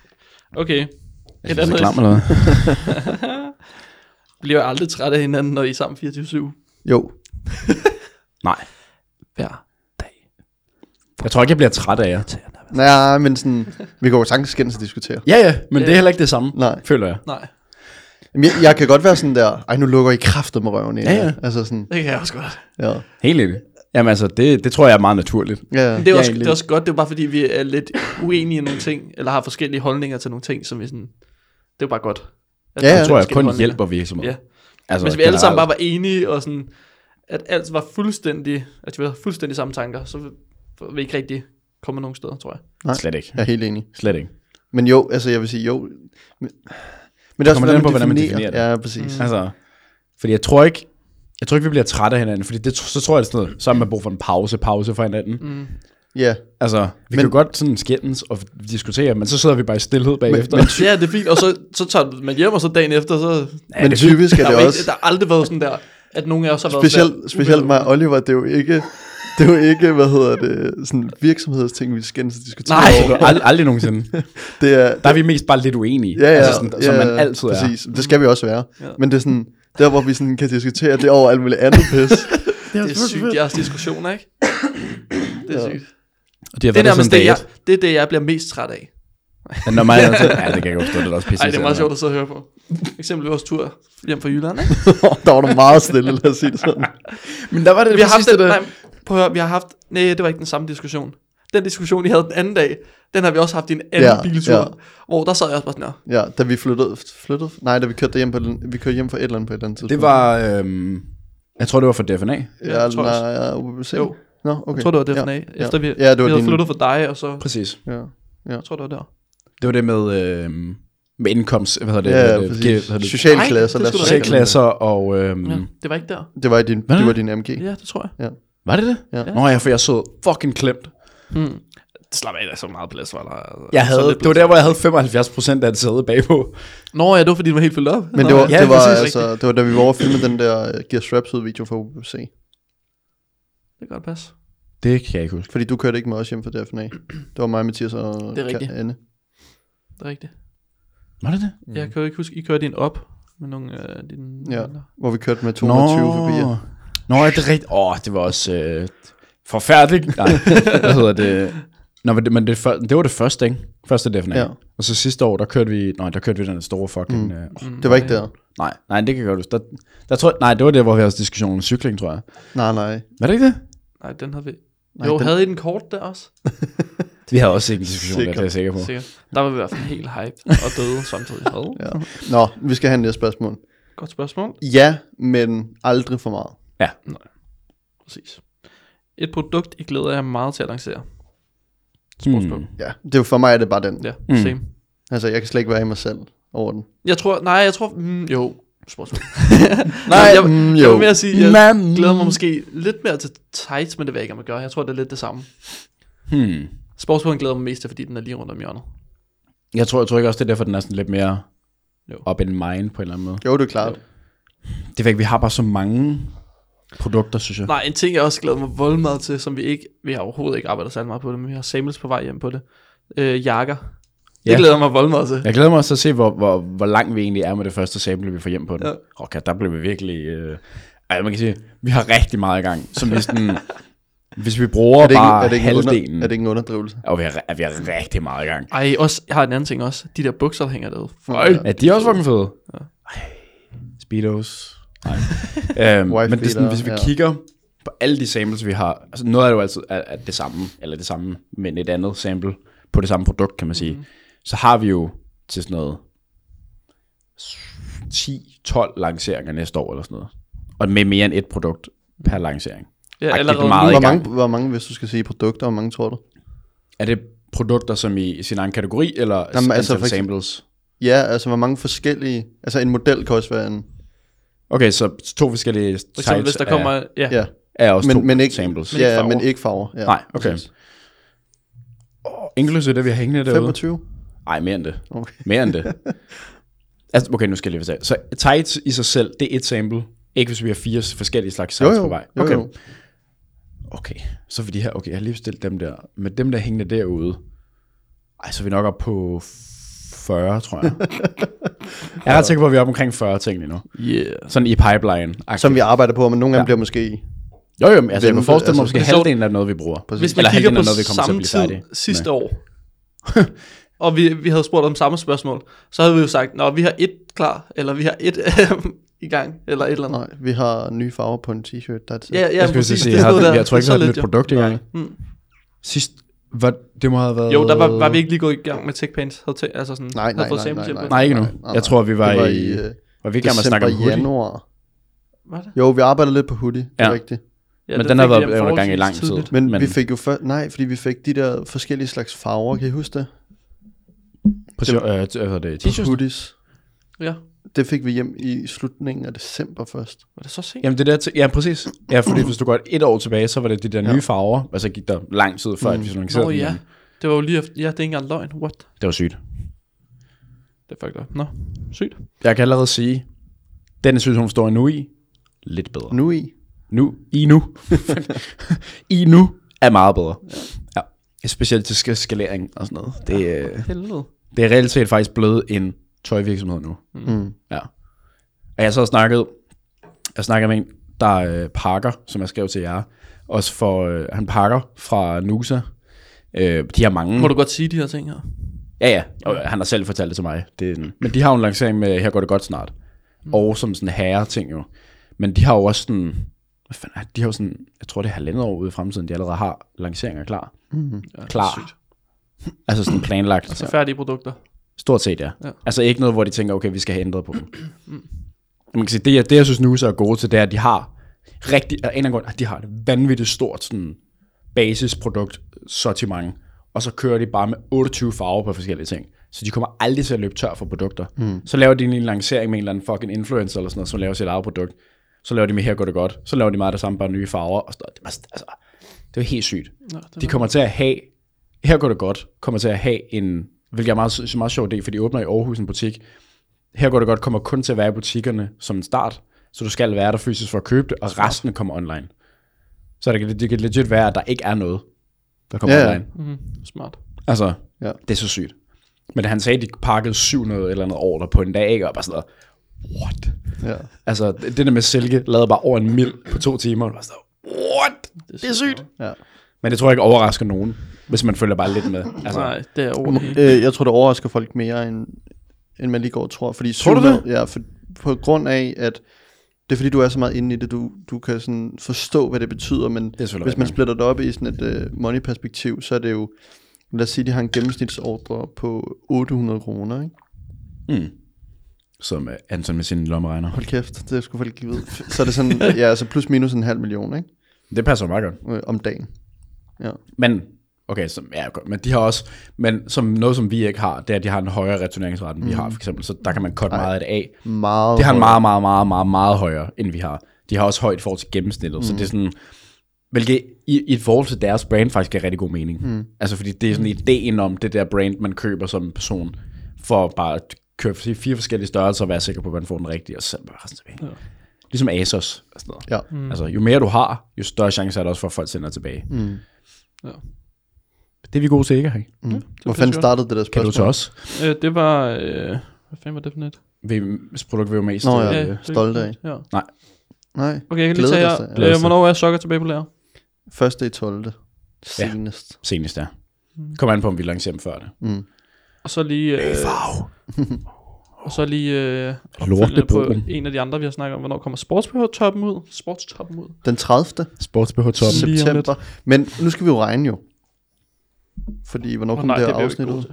D: Okay. Et
E: er
D: andet
E: klam eller hvad?
D: bliver jeg aldrig træt af hinanden, når I er sammen 24-7.
C: Jo,
E: Nej.
D: Hver dag.
E: Jeg tror ikke, jeg bliver træt af jer.
C: Nej, men sådan, vi går jo sagtens skændes og diskutere.
E: Ja, ja, men det er heller ikke det samme,
C: Nej.
E: føler jeg.
D: Nej,
C: Jamen, jeg, jeg, kan godt være sådan der, ej, nu lukker I kraftet med røven ind.
E: Ja, ja.
C: Altså sådan,
D: det kan jeg også godt.
C: ja.
E: Helt enig. Jamen altså, det, det tror jeg er meget naturligt.
C: ja.
D: Det er, også,
E: egentlig-
D: det er også godt, det er bare fordi, vi er lidt uenige i nogle ting, eller har forskellige holdninger til nogle ting, som vi sådan... Det er jo bare godt. At
C: Ja,
D: der er
E: Jeg tror, jeg
D: forskellige
E: kun
D: holdninger.
E: hjælper virksomheder.
D: Ja.
E: Altså,
D: Hvis vi alle sammen
E: generelt.
D: bare var enige, og sådan, at alt var fuldstændig, at vi havde fuldstændig samme tanker, så vil- vil vi ikke rigtig komme nogen steder, tror jeg.
C: Nej,
E: Slet ikke.
C: jeg er helt enig.
E: Slet ikke.
C: Men jo, altså jeg vil sige jo. Men, men det er også,
E: kommer
C: hvordan
E: an
C: man,
E: på,
C: på,
E: hvordan man
C: definerer.
E: definerer det.
C: Ja, præcis. Mm.
E: Altså, fordi jeg tror ikke, jeg tror ikke, vi bliver trætte af hinanden, fordi det, så tror jeg, at sådan noget, så har man brug for en pause, pause fra hinanden. Mm.
C: Ja,
E: Altså, vi men, kan jo godt sådan skændes og diskutere, men så sidder vi bare i stillhed bagefter. Men,
D: Ja, det er fint, og så, så tager man hjem, og så dagen efter, så...
C: ja men typisk er
D: der,
C: det
D: er jo
C: også,
D: ikke, der har aldrig været sådan der, at nogen af os har været sådan der,
C: specielt, specielt
D: uvenner.
C: mig og Oliver, det er jo ikke, det er jo ikke, hvad hedder det, sådan virksomhedsting, vi skændes og diskuterer.
D: Nej.
C: over.
E: men, aldrig, aldrig nogensinde.
C: Det er,
E: Der er vi mest bare lidt uenige.
C: Ja, ja,
E: altså sådan,
C: ja,
E: som man
C: ja,
E: altid er.
C: præcis. Det skal vi også være. Ja. Men det er sådan, der hvor vi sådan kan diskutere det over alt muligt andet pis.
D: Det er sygt, jeres diskussioner, ikke? Det er sygt.
E: Og de har
D: Det er
E: været der
D: nærmest
E: sådan
D: det, jeg,
E: dag
D: det, er det, jeg bliver mest træt af.
E: et. Når mig er sådan, ja, det kan jeg godt forstå, det er også pisse.
D: Ej, det er meget sjovt at sidde og høre på. Eksempelvis vores tur hjem fra Jylland, ikke?
C: der var du meget stille, lad os sige det sådan.
E: Men der var det,
D: Vi har haft den,
E: der.
D: nej, prøv at høre, vi har haft, nej, det var ikke den samme diskussion. Den diskussion, I havde den anden dag, den har vi også haft i en anden
C: Ja,
D: ja, biltur,
C: ja.
D: ja. hvor der sad jeg også bare sådan her.
C: Ja, da vi flyttede, flyttede nej, da vi kørte hjem, på, vi kørte hjem fra et eller andet på et eller andet tidspunkt.
E: Det var, øhm, jeg tror, det var for DFNA.
C: ja,
D: jeg tror
C: nej,
D: også.
C: ja, UBC.
D: Jo.
C: Nå, okay.
D: Jeg tror, det var DFNA,
C: ja,
D: ja, efter vi,
C: ja,
D: ja,
C: det var
D: vi havde
C: din-
D: flyttet for dig, og så,
E: Præcis.
C: Ja.
D: jeg tror, det var der.
E: Det var det med, øh, med indkomst, hvad hedder det?
C: Ja,
E: hvad
C: ja,
E: hedder det,
C: præcis.
E: Hvad hedder det?
C: Socialklasser,
D: Nej, det
C: lad
D: skulle
C: os kalde dem
E: Socialklasser og... Øh,
D: Ja, det var ikke der.
C: det. Det var i din, det var din MG.
D: Ja, det tror jeg.
E: Var det det?
C: Ja.
E: Nå ja, for jeg så fucking klemt.
D: Slap af, der er så meget plads, var der. altså.
E: Jeg havde,
D: Så lidt
E: det var der, hvor jeg havde 75% af det sæde bagpå.
D: plads. Nå ja, det var fordi, den var helt fyldt op.
C: Men det var,
E: Ja,
C: det var
E: præcis.
C: altså, det var da vi var over og filmede den der øh, Gear Straps ud video for UBC.
D: Det kan godt passe.
E: Det kan jeg ikke huske.
C: Fordi du kørte ikke med os hjem fra DFNA. Det var mig, Mathias og
D: Det er rigtigt.
C: Ka- Anne.
D: Det er rigtigt.
E: Var det det?
D: Mm. Jeg kan jo ikke huske, I kørte en op med nogle af øh, dine...
C: Ja,
D: venner.
C: hvor vi kørte med 220 forbi. jer.
E: Nå, er det rigtigt? Åh, det var også øh, forfærdeligt. Nej, hvad hedder det? Nå, men det, men det, før- det var det første, ikke? Første DFNA.
C: Ja.
E: Ja. Og så sidste år, der kørte vi, nej, der kørte vi den store fucking... Mm. Øh, åh,
C: Det var ikke der.
E: nej, nej, det kan jeg godt huske. Der, der tror, jeg- nej, det var der, hvor vi havde også diskussionen om cykling, tror jeg.
C: Nej, nej.
E: Var det ikke det?
D: Nej, den havde vi...
C: Nej,
D: jo,
C: den-
D: havde I den kort der også?
E: Vi havde også ikke en diskussion, der, det er jeg sikker på.
D: Sikkert. Der var vi i hvert fald helt hyped og døde samtidig. Havde.
C: Ja. Nå, vi skal have en næste spørgsmål.
D: Godt spørgsmål.
C: Ja, men aldrig for meget.
E: Ja.
D: Præcis. Et produkt, I glæder jer meget til at lancere.
E: Mm.
C: Ja, det er jo for mig er det bare den. Ja.
D: Ja, mm. same.
C: Altså, jeg kan slet ikke være i mig selv over den.
D: Jeg tror, nej, jeg tror, mm, jo, spørgsmål.
C: Nej,
D: jeg,
C: mm,
D: jeg
C: jo.
D: vil mere sige, jeg
E: Nej, mm.
D: glæder mig måske lidt mere til tights, men det ved jeg ikke, om jeg gør. Jeg tror, det er lidt det samme.
E: Hmm.
D: Sportsbogen glæder jeg mig mest til, fordi den er lige rundt om hjørnet.
E: Jeg tror, jeg tror ikke også, det er derfor, den er sådan lidt mere
D: Jo.
E: up in mind på en eller anden måde.
C: Jo, det er klart.
E: Det er ikke, vi har bare så mange produkter, synes jeg.
D: Nej, en ting, jeg også glæder mig voldemad meget til, som vi ikke, vi har overhovedet ikke arbejdet særlig meget på det, men vi har samples på vej hjem på det. Øh, jakker. Det
E: Ja.
D: glæder jeg mig voldemad meget til.
E: Jeg glæder mig også til at se, hvor, hvor, hvor langt vi egentlig er med det første sample, vi får hjem på den. Ja.
D: Ja.
E: Okay, der blev vi virkelig... Øh, altså, man kan sige, vi har rigtig meget i gang. Som hvis, den, hvis vi
C: Er
E: bruger
C: det, ikke,
E: bare
C: er, det ikke en
E: halvdelen...
C: under, er det ikke en underdrivelse?
E: Og vi har, vi har rigtig meget i gang.
D: Ej, også, jeg har en anden ting også. De der bukser, der hænger derude.
C: Ej.
E: Ja, de er også fucking fede. Ja. Speedos. Nej. øhm, men
C: Wife
E: det er sådan,
C: beater,
E: hvis vi ja.
C: ja.
E: kigger på alle de samples, vi har, altså noget er jo altid er, er det samme, eller det samme, men et andet sample på det samme produkt, kan man sige. Mm-hmm. Så har vi jo til sådan noget 10-12 lanceringer næste år, eller sådan noget. Og med mere end et produkt per lancering.
D: Ja,
E: Ej, det
D: allerede
E: er meget
D: nu.
E: i
C: Hvor
E: gang.
C: mange, hvor mange, hvis du skal sige produkter, hvor mange tror du?
E: Er det produkter, som i sin egen kategori, eller Jamen,
C: Jamen,
E: altså
C: altså
E: antal
C: for eksempel-
E: samples?
C: Ja, altså hvor mange forskellige... Altså en model kan også være en...
E: Okay, så to forskellige
D: For eksempel, hvis der kommer...
E: er,
D: Ja, ja.
C: Ja,
E: er også to
C: men, men ikke,
E: samples.
C: Ja,
D: farver.
C: men ikke farver. Ja.
E: Nej, okay.
C: præcis.
E: Inklusive det, vi har hængende derude?
C: 25?
E: Nej, mere end det.
C: Okay.
E: Mere end det. altså, okay, nu skal jeg lige forstå. Så tights i sig selv, det er et sample. Ikke hvis vi har fire forskellige slags
C: Jo,
E: tights
C: jo,
E: på vej.
C: jo,
E: Okay.
C: jo.
E: okay, så for de her, okay, jeg har lige bestilt dem der. Med dem der hængende derude, ej, så er vi nok oppe på 40, tror jeg. jeg er ret sikker på, at vi er oppe omkring 40 ting lige nu.
D: Yeah.
E: Sådan i pipeline.
C: Som vi arbejder på, men nogle gange
E: Ja.
C: ja. bliver måske...
E: Jo, jo, men altså, jeg kunne
C: Vente,
E: forestille mig,
C: altså,
E: måske
D: det er sjovt.
E: halvdelen af noget, vi bruger.
C: Præcis.
D: Hvis man
E: Eller
D: kigger
E: halvdelen
D: på
E: af noget, vi kommer til at
D: samme
E: blive
D: tid
E: færdige.
D: sidste år, og vi, vi havde spurgt om samme spørgsmål, så havde vi jo sagt, nå, vi har et klar, eller vi har et i gang, eller et eller andet.
C: Nej, vi har nye farver på en t-shirt. That's it.
D: Ja, ja,
E: jeg skulle
D: præcis.
E: sige,
D: det
E: jeg,
D: er
E: har,
D: noget, der-
E: jeg tror ikke,
D: det
E: vi
D: er så
E: har et
D: lidt,
E: nyt
D: jo.
E: produkt i gang.
D: Mm.
E: Sidst, hvad, det må have været...
D: Jo, der var, var vi ikke lige gået i gang med TechPains. Havde tæ- altså sådan,
C: Nej,
D: havde
C: nej,
D: fået
C: nej,
D: samples hjem
C: nej, nej,
D: på.
E: Nej, ikke nu.
C: Nej, nej,
E: Jeg tror, vi var,
C: Det var
E: i...
C: i øh,
E: var vi ikke gang med at
C: december,
E: snakke om hoodie?
C: januar.
D: Var det?
C: Jo, vi arbejder lidt på hoodie, det er
E: Ja.
C: rigtigt.
D: Ja,
E: Men
D: det
E: den har
D: fik vi
E: været
D: hjem
E: under gang i
D: forholdsvis
E: lang tid.
D: tidligt.
C: Men,
E: Men-
C: men vi fik jo før... Nej, fordi vi fik de der forskellige slags farver, kan I huske det?
E: På det, øh, t- hvad hedder det,
C: På
E: t-shirts?
C: hoodies.
D: Ja,
C: Det fik vi hjem i slutningen af december først.
D: var det så sent?
E: Jamen det der, t- ja præcis. Ja, fordi hvis du går et år tilbage, så var det de der nye farver, og så gik der lang tid før, at vi sådan
D: Mm. Nå
E: lancerede dem,
D: ja,
E: men
D: det var jo lige efter, ja, det er ikke engang løgn, what?
E: Det var sygt.
D: Det er fucked up. Nå, sygt.
E: Jeg kan allerede sige, den synes hun står nu i, lidt bedre.
C: Nu i.
E: Nu, i nu. I nu er meget bedre. Ja. Specielt til skal- skalering og sådan noget. Det, øh,
D: Helvede.
E: det er reelt set faktisk blevet en tøjvirksomhed nu.
C: Mm.
E: Ja. Og jeg så har snakket, jeg snakker med en, der øh, pakker, som jeg skrev til jer, også for, øh, han pakker fra Nusa. Øh, de har mange.
D: Må du godt sige de her ting her?
E: Ja, ja. Og han har selv fortalt det til mig. Det er den. Men de har jo en lancering med, her går det godt snart. Mm. Og som sådan herre ting jo. Men de har jo også sådan, hvad fanden, er det? de har jo sådan, jeg tror det er halvandet år ude i fremtiden, de allerede har lanceringer klar.
C: Mm.
E: Klar. Altså sådan planlagt.
D: Altså færdige produkter.
E: Stort set, ja. ja.
D: Ja.
E: Altså ikke noget, hvor de tænker, okay, vi skal have ændret på dem. Man kan sige, det, jeg, det, jeg synes nu så er gode til, det er, at de har rigtig, af en eller anden grund, at de har et vanvittigt stort sådan, basisprodukt sortiment, og så kører de bare med 28 farver på forskellige ting. Så de kommer aldrig til at løbe tør for produkter. Mm. Så laver de en lille lancering med en eller anden fucking influencer eller sådan noget, som laver sit eget produkt. Så laver de med her går det godt. Så laver de meget det samme, bare nye farver. Og sådan noget. Det, var, altså, det var helt sygt.
D: Nå,
E: De
D: det var...
E: kommer til at have, her går det godt, kommer til at have en, hvilket er meget, synes er en meget sjov idé, for de åbner i Aarhus en butik. Her går det godt, kommer kun til at være i butikkerne som en start, så du skal være der fysisk for at købe det, og resten kommer online. Så det, kan- det kan legit være, at der ikke er noget, der kommer
C: Ja, ja.
E: online.
D: Mhm, smart.
E: Altså, ja.
C: Ja.
E: det er så sygt. Men han sagde, at de pakkede 700 eller noget ordre på en dag, ikke? og jeg var sådan noget, what?
C: Ja.
E: Altså, det det der med silke lavede bare over en mil på to timer. Og jeg var sådan, what? Det er sygt.
C: Ja.
E: Men det tror jeg ikke overrasker nogen, hvis man følger bare lidt med. Altså,
D: Nej, det er over det hele.
C: Øh, jeg tror, det overrasker folk mere, end, end man lige går og tror. Fordi
E: Tror du
C: 700 Ja, for, på grund af, at det er fordi, du er så meget inde i det, du, du kan sådan forstå, hvad det betyder, men
E: er selvfølgelig
C: hvis man
E: rigtigt.
C: splitter det op i sådan et uh, money-perspektiv, så er det jo, lad os sige, de har en gennemsnitsordre på 800 kroner, ikke?
E: Som øh, Anton med sin lommeregner.
C: Hold kæft, det skulle folk ikke vide. Så er det sådan, ja, altså plus minus en halv million, ikke?
E: Det passer meget godt.
C: Øh, om dagen. Ja.
E: Men, okay, så, ja, godt, men de har også, men som noget som vi ikke har, det er, at de har en højere returneringsret, end vi har for eksempel, så der kan man godt meget af det af.
C: Meget
E: Det har en
C: højere.
E: meget, meget, meget, meget, meget højere, end vi har. De har også højt i forhold til gennemsnittet, mm. så det er sådan, hvilket i, i forhold til deres brand faktisk giver rigtig god mening. Mm. Altså fordi det er sådan ideen om det der brand, man køber som en person, for bare at købe fire forskellige størrelser og være sikker på, at man får den rigtige, og så sælge bare resten tilbage. Ligesom Asos og sådan noget.
C: Ja.
E: Mm. Altså, jo mere du har, jo større chance er der også for, at folk sender tilbage.
C: Mm.
E: Det er vi gode til ikke, hey.
C: Mm. Hvor
D: passer
C: fanden
D: godt.
C: startede det der
E: Kan
C: spørgsmål?
E: du til os?
D: Øh, det var... Øh, hvad fanden var det for net?
E: VM's produkt vil jo mest.
C: Nå
E: øh,
C: ja.
D: det-
C: stolte af.
D: Ja.
C: Nej,
D: Okay, jeg kan lige
C: Glæder
D: tage
C: dig til-
D: her.
E: glæder
D: Øh,
E: sig.
D: hvornår er Sokker tilbage på lager?
C: første i 12. Senest.
E: Senest der. Kommer an på, om vi lancerer dem før det.
C: Mm.
D: Og så lige... Øh, og så lige øh, opfølgende på
E: Lortebogen.
D: en af de andre, vi har snakket om. Hvornår kommer sportsbehør-toppen ud? Sportstoppen ud?
C: Den 30.
E: Sportsbh-toppen.
D: Lige om lidt.
C: september. Men nu skal vi jo regne jo. Fordi, hvornår
D: Åh,
C: kom det her
D: bliver vi ikke
C: afsnit
D: gode
C: ud?
D: til.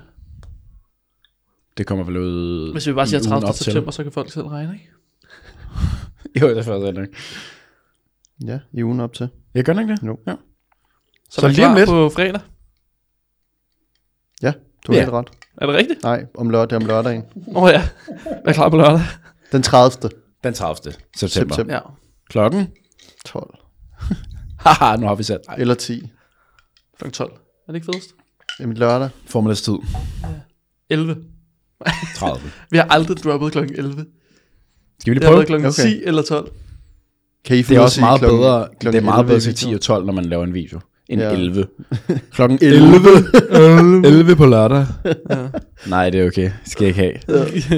E: Det kommer vel ud
D: Hvis vi bare
E: i
D: siger
E: ugen
D: 30.
E: op til.
D: september, så kan folk selv regne, ikke?
E: Jo, det er faktisk rigtig nok.
C: Ja, i ugen op til.
E: Jeg gør den ikke det?
C: Jo.
E: Ja.
D: Så,
E: Så
D: så
E: lige om lidt.
D: på fredag.
C: Ja, du har
E: Ja.
C: helt ret.
D: Er det rigtigt?
C: Nej, om lørdag, om lørdagen.
D: Åh oh, ja. Jeg er klar på lørdag.
C: Den 30.
E: Den 30. september. september.
C: september.
D: Ja.
E: Klokken?
C: 12.
E: Haha, nu har vi sat. Ej,
C: Eller 10.
D: Kl. 12. Er det ikke fedest?
C: Jamen lørdag.
E: formiddagstid.
D: 11.
E: 30.
D: Vi har aldrig droppet kl. 11.
E: Skal vi
D: Det
E: lige
D: har
E: prøve?
D: været kl.
C: Okay.
D: 10 eller 12.
C: Kan I få
E: Det er
C: lov at
E: også
C: sige
E: meget
C: klokken-
E: bedre, det
C: klokken
E: er meget
C: 11
E: bedre
C: i video?
E: til 10 og 12, når man laver en video. En
C: Ja.
E: 11. Klokken 11.
C: 11.
E: 11 på lørdag.
D: Ja.
E: Nej, det er okay. Det skal jeg ikke have.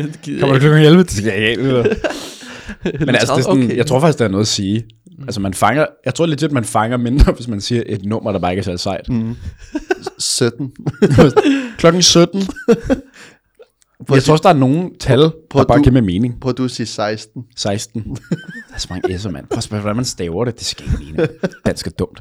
D: det gider
E: Kommer
D: jeg
E: det klokken 11? Det skal jeg ikke have. det der.
D: ikke.
E: Men altså, det er sådan,
D: Okay.
E: jeg tror faktisk, der er noget at sige. Altså, man fanger, jeg tror legit, man fanger mindre, hvis man siger et nummer, der bare ikke er så sejt.
C: 17.
E: Klokken 17. jeg tror også, der er nogen tal,
C: prøv
E: der
C: at
E: bare
C: du-
E: giver med mening.
C: Prøv at du siger 16.
E: 16. Der er så mange S'er, mand. Prøv at spørge, hvordan man staver det. Det skal ikke mene. Dansk er dumt.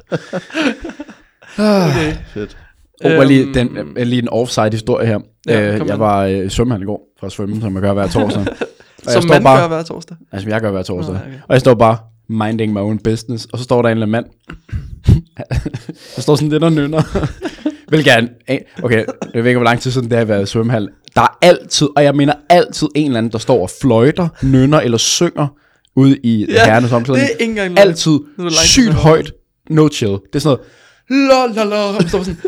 D: Okay.
C: Fedt.
E: Oh, øhm, lige,
D: Øhm.
E: den, øh, lige en offside historie her.
D: Ja,
E: Ja, øh,
D: kom
E: jeg
D: med.
E: var øh, i svømmehal i går fra svømme, som jeg gør hver torsdag. Og jeg
D: Som
E: står
D: man
E: bare,
D: gør hver torsdag.
E: Altså, som jeg gør hver torsdag.
D: Nå, okay.
E: Og jeg står bare minding my own business, og så står der en eller anden mand. der står sådan lidt og nynner. Hvilket er en, en- okay, jeg ved ikke, hvor lang tid siden det har været i svømmehal. Der er altid, og jeg mener altid en eller anden, der står og fløjter, nynner eller synger ude i ja, herrenes omklædning.
D: det er ikke engang løgn.
E: Altid
D: er det langt,
E: sygt
D: det er.
E: højt, no chill. Det er sådan noget, la la la, og man står sådan,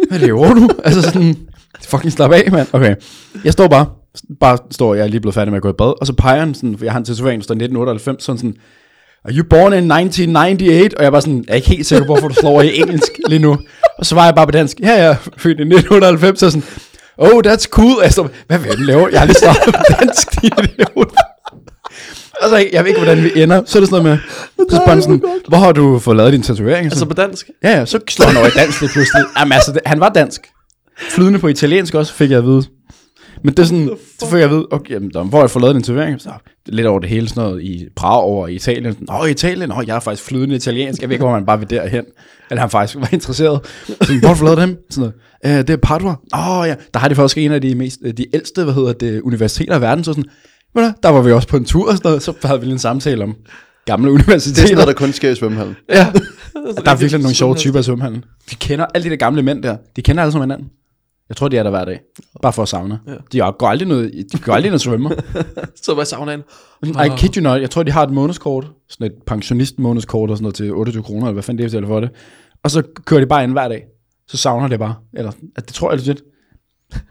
E: hvad laver du? altså sådan, fucking slap af, mand. Okay, jeg står bare, bare står, jeg er lige blevet færdig med at gå i bad, og så peger han sådan, for jeg har en tatovering, der står 1998, sådan sådan, Are you born in 1998? Og jeg var sådan, jeg er ikke helt sikker på, hvorfor du slår i engelsk lige nu. Og så var jeg bare på dansk, ja, jeg er født i 1990, og sådan, oh, that's cool. Og jeg står, hvad vil du lave? Jeg har lige startet på dansk, din idiot. Og så, jeg ved ikke, hvordan vi ender. Så er det sådan noget med, så spørger han sådan, hvor har du fået lavet din tatovering?
D: Altså på
E: Altså,
D: dansk.
E: ja, ja, så slår han over i dansk lige pludselig. Jamen altså, det, han var dansk. Flydende på italiensk også, fik jeg at vide. Men det er sådan, så fik jeg at vide, okay, jamen, der, hvor har jeg fået lavet din tatovering? Så lidt over det hele, sådan noget i Prag over i Italien. Sådan, Nå, Italien, Nå, jeg er faktisk flydende italiensk. Jeg ved ikke, hvor man bare vil derhen. Eller han faktisk var interesseret. Så, hvor har du fået lavet dem? Sådan noget. "Øh, det er Padua. Åh oh, ja, der har de faktisk en af de, mest, øh, de ældste, hvad hedder det, universiteter i verden. Så sådan, "Ved du hvad, der var vi også på en tur og sådan noget. Så havde vi lige en samtale om gamle
C: Det er
E: universiteter.
C: sådan noget, der kun sker i svømmehallen.
E: Ja. der er virkelig nogle sjove typer i svømmehallen. Vi kender alle de der gamle mænd der. De kender alle sammen hinanden. Jeg tror, de er der hver dag. Bare for at savne. Ja. De er- går aldrig noget, de går aldrig noget svømmer.
D: Så var jeg saunaen.
E: I kid you not. Jeg tror, de har et månedskort. Sådan et pensionist månedskort og sådan noget til 28 kroner, eller hvad fanden det er, jeg betaler for det. Og så kører de bare ind hver dag. Så savner det bare. Eller, at det tror jeg legit.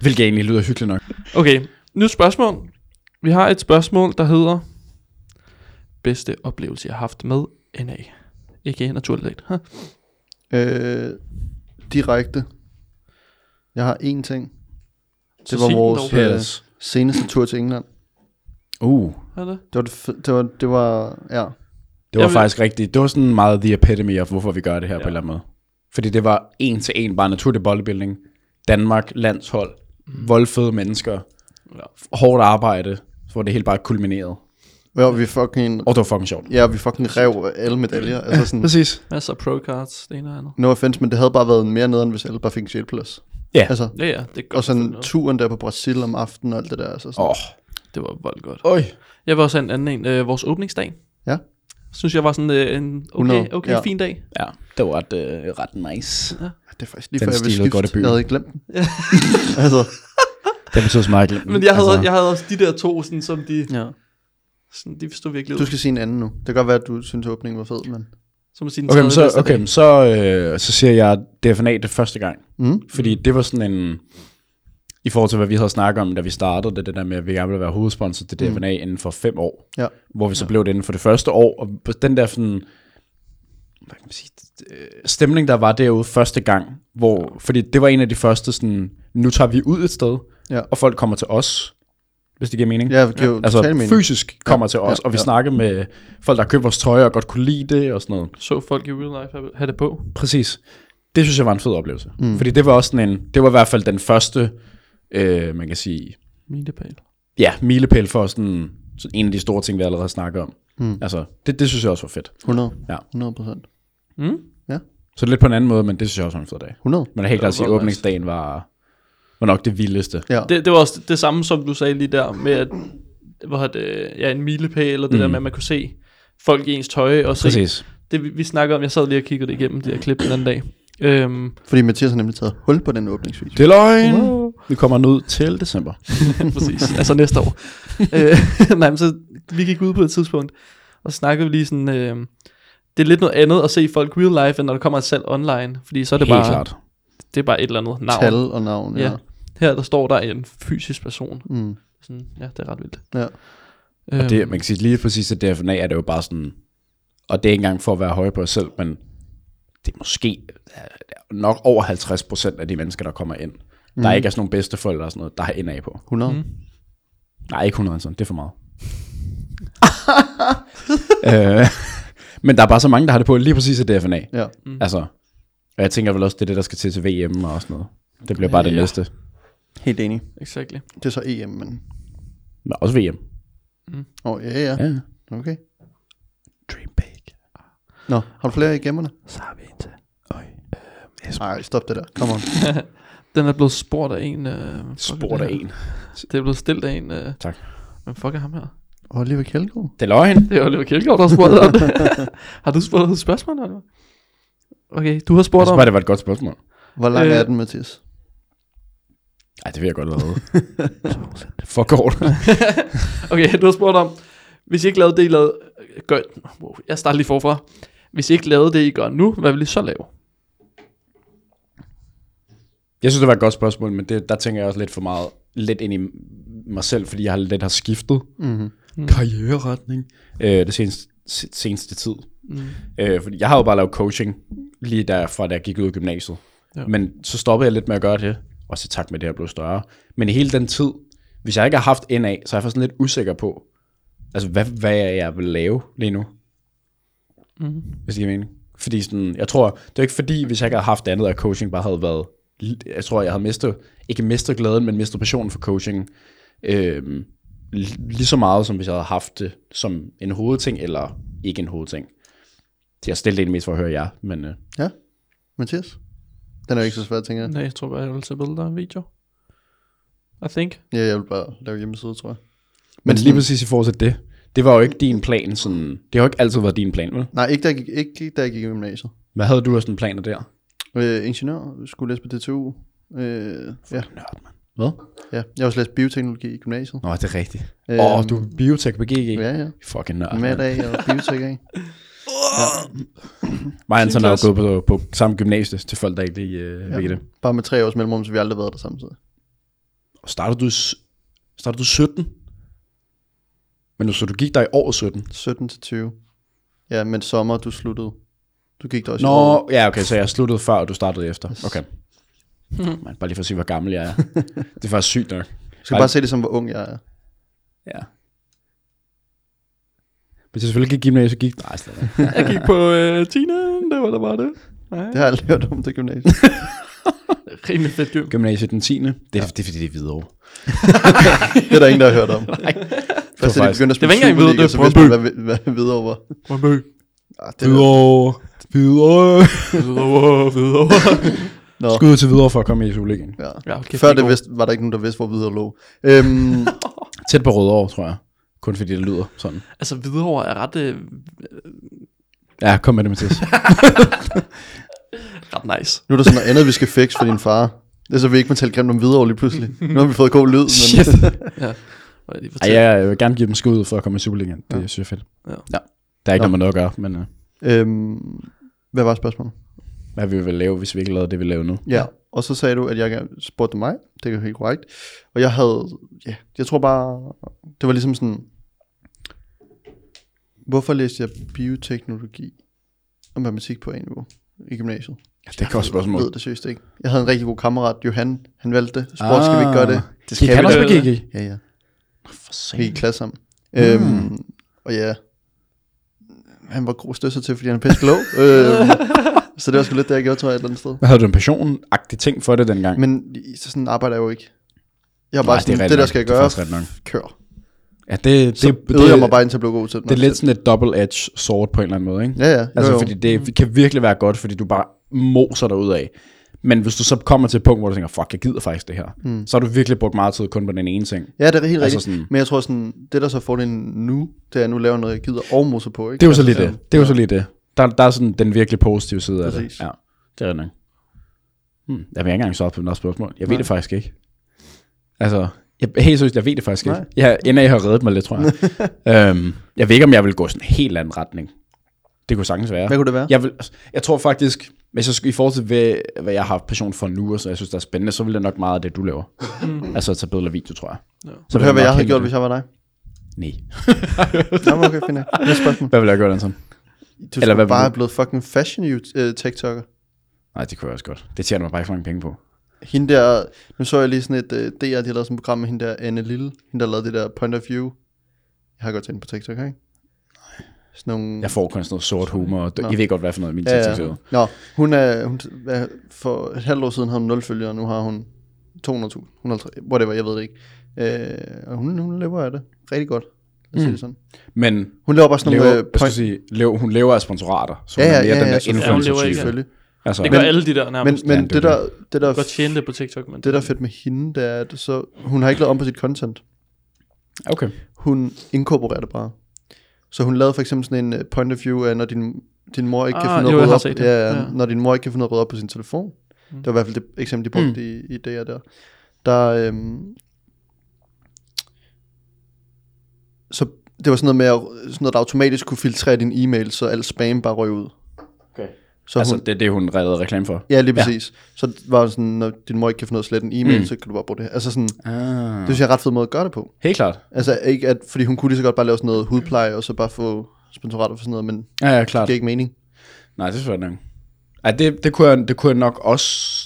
E: Hvilket egentlig lyder hyggeligt nok.
D: Okay, nu et spørgsmål. Vi har et spørgsmål, der hedder... Bedste oplevelse, jeg har haft med NA. Ikke naturligt. lidt, huh?
C: Øh, direkte. Jeg har én ting.
D: Så
C: Det var
D: sig den
C: vores
D: dog.
C: øh, seneste tur til England.
E: Uh,
D: Er det?
C: Det var, det, fe- det var, det var ja.
E: det var
D: Jeg vil-
E: faktisk rigtigt. Det var sådan meget the epitome of, hvorfor vi gør det her ja. på en eller anden måde. Fordi det var en til en bare naturlig bodybuilding. Danmark, landshold, mm. voldfede mennesker,
D: Ja.
E: hårdt arbejde, hvor det hele bare kulminerede.
C: Hvor vi fucking,
E: Og det var fucking sjovt.
C: ja, vi fucking rev alle medaljer. Altså sådan,
E: Præcis.
D: Masser af pro cards, det ene og andet.
C: no offense, men det havde bare været mere nederen, hvis alle bare fik en sjælplads.
E: Ja.
C: Altså,
D: Ja, ja, det er godt.
C: og
D: at få
C: sådan
D: noget.
C: turen der på Brasil om aftenen og alt det der. Altså sådan.
E: Åh.
D: Det var vold godt.
E: Oh. Øj.
D: Jeg var også en anden en. Øh, vores åbningsdag.
C: Ja.
D: Synes jeg var sådan øh, en okay,
C: 100,
D: okay
C: ja. Mm,
D: fin dag.
E: Ja, det var et, øh, ret nice.
C: Det er faktisk lige
E: Den
C: før jeg ville
E: stilede godt i
C: skifte.
E: byen.
C: Jeg havde ikke glemt den. altså,
E: Det betyder så meget. glemt.
D: Men jeg havde,
E: Altså,
D: altså. jeg havde også de der to, sådan, som de,
C: ja.
D: sådan, de stod virkelig
C: Du
D: ud.
C: skal sige en anden nu. Det kan godt være, at du synes, at åbningen var fed, men...
D: Som at sige den
E: Okay, men
D: tredje
E: så,
D: bedste
E: okay,
D: dag.
E: men så, øh, så siger jeg DFNA det første gang.
C: Mm.
E: Fordi det var sådan en... i forhold til, hvad vi havde snakket om, da vi startede, det, det der med, at vi gerne ville være hovedsponsor til DFNA mm. inden for fem år.
C: Ja.
E: Hvor vi så blev det inden for det første år. Og på den der sådan, hvad kan man sige, øh, stemning, der var derude første gang, hvor, fordi det var en af de første sådan, nu tager vi ud et sted,
C: Ja.
E: og folk kommer til os, hvis det giver mening.
C: Ja, det giver jo
E: altså
C: total mening.
E: fysisk kommer
C: Ja,
E: til os,
C: ja,
E: og vi
C: ja.
E: snakker med folk, der køber vores tøj og godt kunne lide det og sådan noget.
D: Så folk i real life have- have det på.
E: Præcis. Det synes jeg var en fed oplevelse. Mm. Fordi det var også sådan en, det var i hvert fald den første, øh, man kan sige,
D: Milepæl.
E: ja, milepæl for sådan, sådan en af de store ting, vi allerede snakker om. Mm. Altså, det, det synes jeg også var fedt.
C: 100.
E: Ja.
C: 100 procent.
D: Mm?
C: Ja,
E: Så lidt på en anden måde, men det synes jeg også var en fed dag.
C: 100.
E: Men jeg er helt klart at sige, at
D: godt,
E: åbningsdagen var, var nok det vildeste.
C: Ja.
D: Det, det var også det samme, som du sagde lige der, med at, hvad hedder det, ja, en milepæl, eller det mm. der med, at man kunne se folk i ens tøj, og se,
E: Præcis.
D: det vi, vi snakkede om, jeg sad lige og kiggede det igennem, de her klip den anden dag. Øhm,
C: Fordi Mathias har nemlig taget hul på den åbningsvis.
E: Det er løgn. Wow. Vi kommer nu til december.
D: præcis, altså næste år. øh, nej, men så vi gik ud på et tidspunkt, og så snakkede vi lige sådan, øh, det er lidt noget andet at se folk real life, end når der kommer et salg online, fordi så er det,
E: Det er
D: bare,
E: helt klart.
D: det er bare et eller andet navn.
C: Tal og navn.
D: Ja.
C: Ja.
D: ja. Her der står der en fysisk person.
C: Mm.
D: Sådan, ja, det er ret vildt.
C: ja.
D: Øhm,
E: Det, man kan sige, lige præcis at DFNA er det jo bare sådan, og det er ikke engang for at være høje på os selv, men det er måske øh, nok over 50 procent af de mennesker, der kommer ind. Mm. Der ikke er sådan nogle bedsteforældre og sådan noget, der har indad på.
C: 100.
D: Mhm.
C: Mm.
E: Nej, ikke 100 sådan, det er for meget. øh, men der er bare så mange, der har det på lige præcis af DFNA.
C: Ja.
E: Mm. Altså, og jeg tænker vel også, det er det, der skal til til VM og sådan noget. Det bliver bare det næste.
C: Helt enig.
D: Exactly.
C: Det er så EM, men...
E: Men også VM.
C: Åh, oh, ja, ja.
E: Ja.
C: Okay.
A: Dream big.
C: Nå, har du flere i gemmerne?
A: Så har vi en til. øhm,
C: Nej, stop det der. Kom on.
D: Den er blevet spurgt af en... Øh, fuck er
E: Spurgt
D: det
E: af
D: her?
E: en.
D: Det er blevet stillet af en... Øh,
E: Tak.
D: Hvem fuck er ham her?
C: Oliver Kjeldgaard.
E: Det er løgn.
D: Det er Oliver Kjeldgaard, der har spurgt dig om det. har du spurgt dig spørgsmål, eller hvad? Okay, du har
E: Jeg
D: spurgt
E: synes
D: om...
E: bare, det var et godt spørgsmål.
C: Hvor lang øh.
D: Øh.
C: er den, Mathias?
E: Ej, det vil jeg godt lade. For kort.
D: Okay, du har spurgt om... Hvis I ikke lavede det, I lavede... Gør, wow, jeg starter lige forfra. Hvis I ikke lavede det, I gør nu, hvad vil I så lave?
E: Jeg synes, det var et godt spørgsmål, men det, der tænker jeg også lidt for meget lidt ind i mig selv, fordi jeg har lidt har skiftet mm-hmm. karriereretning øh, det seneste, se- seneste tid. Mm. Øh, fordi jeg har jo bare lavet coaching lige der, fra da jeg gik ud af gymnasiet. Ja. Men så stoppede jeg lidt med at gøre det, og så tak med at det her blev større. Men i hele den tid, hvis jeg ikke har haft en af, så er jeg faktisk sådan lidt usikker på, altså hvad, hvad jeg vil lave lige nu. hvis det giver mening. Fordi sådan, jeg tror, det er ikke fordi, hvis jeg ikke havde haft det andet, at coaching bare havde været, jeg tror, jeg havde mistet, ikke mistet glæden, men mistet passionen for coaching, øh, lige så meget, som hvis jeg havde haft det som en hovedting, eller ikke en hovedting. Så jeg stillede det mest for at høre jer, men øh,
C: Ja. Mathias? Den er jo ikke så svær, tænker jeg.
D: Nej, jeg tror bare, jeg vil tage billeder og video. I think.
C: Ja, jeg vil bare lave hjemmeside, tror jeg.
E: men lige præcis i forhold til det, det var jo ikke din plan, sådan, det har jo ikke altid været din plan, vel?
C: Nej, ikke da jeg gik, ikke, da jeg gik i gymnasiet.
E: Hvad havde du af sådan planer der?
C: Øh, ingeniør skulle læse på DTU. Øh, ja,
E: Nørd, mand. Hvad?
C: ja. Jeg har også læst bioteknologi i gymnasiet.
E: Nå, det er rigtigt. Åh,
C: Øhm,
E: øh, oh, du er biotech på GG.
C: Ja, ja.
E: Fucking nørd.
C: Med
E: mand.
C: dag og biotek af.
E: Mig og Anton har
D: Klasse.
E: jo gået på, på samme gymnasie til folk, der ikke lige øh, ja. ved det.
C: Bare med tre års mellemrum, så vi har aldrig været der samtidig.
E: Og startede du, i s- startede du 17? Men nu så du gik der i år 17?
C: 17 til 20. Ja, men sommer, du sluttede. Du gik der også i år.
E: Nå, ja okay, så jeg sluttede før, og du startede efter. Okay. Man, bare lige for at sige, hvor gammel jeg er. Det er faktisk sygt nok.
C: Du skal bare se det som, hvor ung jeg er.
E: Ja. Hvis jeg selvfølgelig gik gymnasiet, gik... Nej, slet ikke.
D: Jeg gik på øh, Tina, det var da bare det.
C: Det har jeg aldrig hørt om det gymnasiet.
D: Rimelig fedt gym.
E: Gymnasiet den 10. Det er, ja. det er fordi, det er videre.
C: Det er der ingen, der har hørt om. Nej.
E: var
C: Først da de
E: faktisk-
C: begyndte at
D: Det
C: spille
D: var ikke engang
C: Superliga,
D: Hvidovre, det var
C: så vidste man, hvad, hvad videre var. Ah, det er,
E: Videre. Videre.
D: Hvidovre, Hvidovre.
C: nå.
E: Skud til videre for at komme i Superligaen.
C: Ja.
D: Ja, okay,
C: Før
D: det
C: det
D: går.
C: vidste, var der ikke nogen, der vidste, hvor videre lå. Øhm,
E: Tæt på Rødovre, tror jeg. Kun fordi det lyder sådan.
D: Altså, Hvidovre er ret, øh,
E: Ja, kom med det, Mathias.
D: ret nice.
C: nu er der sådan noget andet, vi skal fikse for din far. Det er så, vi ikke må tale grimt om videre lige pludselig. Nu har vi fået god lyd, men
E: Shit.
D: Må jeg lige
E: Ej,
D: fortælle?
E: jeg, jeg vil gerne give dem skud for at komme i Superligaen. Det ja. synes jeg er fedt.
D: Ja.
E: ja. Der er ikke noget, man noget at gøre, men uh,
C: øhm, hvad var spørgsmålet?
E: hvad vi vil lave, hvis vi ikke lavede det, vi laver nu.
C: Ja, Og så sagde du, at jeg gerne- spurgte mig. Det er helt korrekt. Og jeg havde, ja, jeg tror bare, det var ligesom sådan, hvorfor læste jeg bioteknologi og matematik på A-niveau i gymnasiet?
E: Ja, det er et godt
C: Jeg
E: spørgsmål.
C: ved det seriøst ikke. Jeg havde en rigtig god kammerat, Johan, han valgte det. Sport, skal vi ikke gøre det?
E: Det
D: Gik
E: skal
D: han
E: vi
D: også
E: da.
D: på GG?
C: Ah. Ja, ja.
E: For
C: Vi gik i klasse sammen. Mm. Øhm, og ja, han var god støsser til, fordi han er pisse klog. øhm, så det var sgu lidt det, jeg gjorde, tror jeg, et eller andet sted.
E: Hvad havde du en passion-agtig ting for det dengang?
C: Men i- så sådan arbejder jeg jo ikke. Jeg har bare
E: Nej, det er
C: sådan, det,
E: rigtig
C: det der
E: nok.
C: skal jeg
E: Det er
C: gøre,
E: faktisk rigtig nok.
C: kør.
E: ja, det,
C: Så det, øvede jeg mig bare indtil jeg blev god til det.
E: det er lidt sådan et double-edged sword på en eller anden måde, ikke?
C: Ja, ja. Jo,
E: Altså,
C: jo.
E: fordi det kan virkelig være godt, fordi du bare moser dig ud af. Men hvis du så kommer til et punkt, hvor du tænker, fuck, jeg gider faktisk det her, mm. så har du virkelig brugt meget tid kun på den ene ting.
C: Ja, det er helt
E: Altså
C: altså rigtigt.
E: sådan-
C: Sådan... Men jeg tror sådan, det der så er fordelen nu, det er, at jeg nu laver noget, jeg gider og moser på. Ikke?
E: Det er jo så
C: Altså,
E: lige det. Det er jo så lige det. Der, der er sådan den virkelig positive side af
C: Præcis.
E: det. Ja, det er rigtigt. Hmm, jeg vil ikke engang svare på noget spørgsmål. Jeg ved det faktisk ikke. Altså, jeg, helt seriøst, jeg ved det faktisk ikke. Jeg, NA har reddet mig lidt, tror jeg. øhm, jeg ved ikke, om jeg vil gå sådan en helt anden retning. Det kunne sagtens være.
C: Hvad kunne det være?
E: Jeg, vil, altså, jeg tror faktisk, hvis jeg skulle, i forhold til, hvad, hvad jeg har passion for nu, og så jeg synes, der er spændende, så vil det nok meget af det, du laver.
C: Mm.
E: altså, tage billeder og video, tror jeg. Ja.
C: Så du hører, hvad jeg havde gjort, hvis jeg var dig.
E: Nej.
C: Nå, men okay, fint. nok. Næste spørgsmål.
E: Hvad ville jeg gøre, Anton?
C: Du Eller
E: hvad
C: hvad
E: vil
C: bare
E: du-
C: er blevet fucking fashion you- øh, tiktoker.
E: Nej, det kunne jeg også godt. Det tjener mig bare ikke for mange penge på.
C: Hende der, nu så jeg lige sådan et uh, DR, de har lavet sådan et program med hende der Anne Lille, hende der lavede det der Point of View. Jeg har godt tænkt på TikTok, ikke? Sådan nogle...
E: Jeg får kun sådan noget sort humor. og dø-
C: Nå.
E: I ved godt, hvad for noget min
C: Ja,
E: TikTok
C: ja.
E: er.
C: Nå, hun er, hun, hvad, for et halvt år siden havde hun 0 følgere, og nu har hun 200.000, 150, whatever, jeg ved det ikke. Øh, og hun, hun lever af det rigtig godt, lad os mm. sige det sådan.
E: Men
C: Hun laver bare sådan
E: lever,
C: nogle øh,
E: jeg skal sige, lever, hun lever af sponsorater, så hun
C: Ja,
E: ja,
C: ja,
E: er mere
C: ja,
E: ja, den
C: ja,
D: Ja, hun lever
C: selvfølgelig.
E: der influencer
D: ikke af
E: type.
C: selvfølgelig.
E: Altså,
D: Det
E: men,
D: gør alle de der
C: Men,
D: nærmest. Men,
C: men
E: Ja, det
C: det,
E: er
C: der, det, der,
D: godt tjene det på TikTok, men
C: det, der er fedt med hende, det er, at så, hun har ikke lavet om på sit content.
E: okay.
C: hun inkorporerer det bare. Så hun lavede for eksempel sådan en øh, point of view af, når din, din mor ikke kan
D: Ah,
C: finde
D: jo, jeg
C: noget
D: har
C: at
D: set
C: rydde op,
D: det.
C: ja,
D: Ja.
C: ja. når din mor ikke kan finde noget at rydde op på sin telefon. Mm. Det var i hvert fald det eksempel, de brugte mm. i, i DR der. Der, øhm, så det var sådan noget med, at, sådan noget, der automatisk kunne filtrere din e-mail, så alt spam bare røg ud.
E: okay.
C: Så
E: altså,
C: altså, hun,
E: det er det, hun redder reklame for.
C: ja, lige præcis. Ja. Så var det sådan, når din mor ikke kan finde noget at slette en e-mail, mm. så kan du bare bruge det her. Altså sådan, det
E: Ah.
C: synes jeg er en ret fed måde at gøre det på.
E: Helt klart.
C: Altså ikke, at, fordi hun kunne lige så godt bare lave sådan noget hudpleje, og så bare få sponsorater for sådan noget, men det
E: Ja, ja, klart.
C: giver ikke mening.
E: Nej, det er svært nok. Ej, det, det, kunne jeg, det kunne jeg nok også...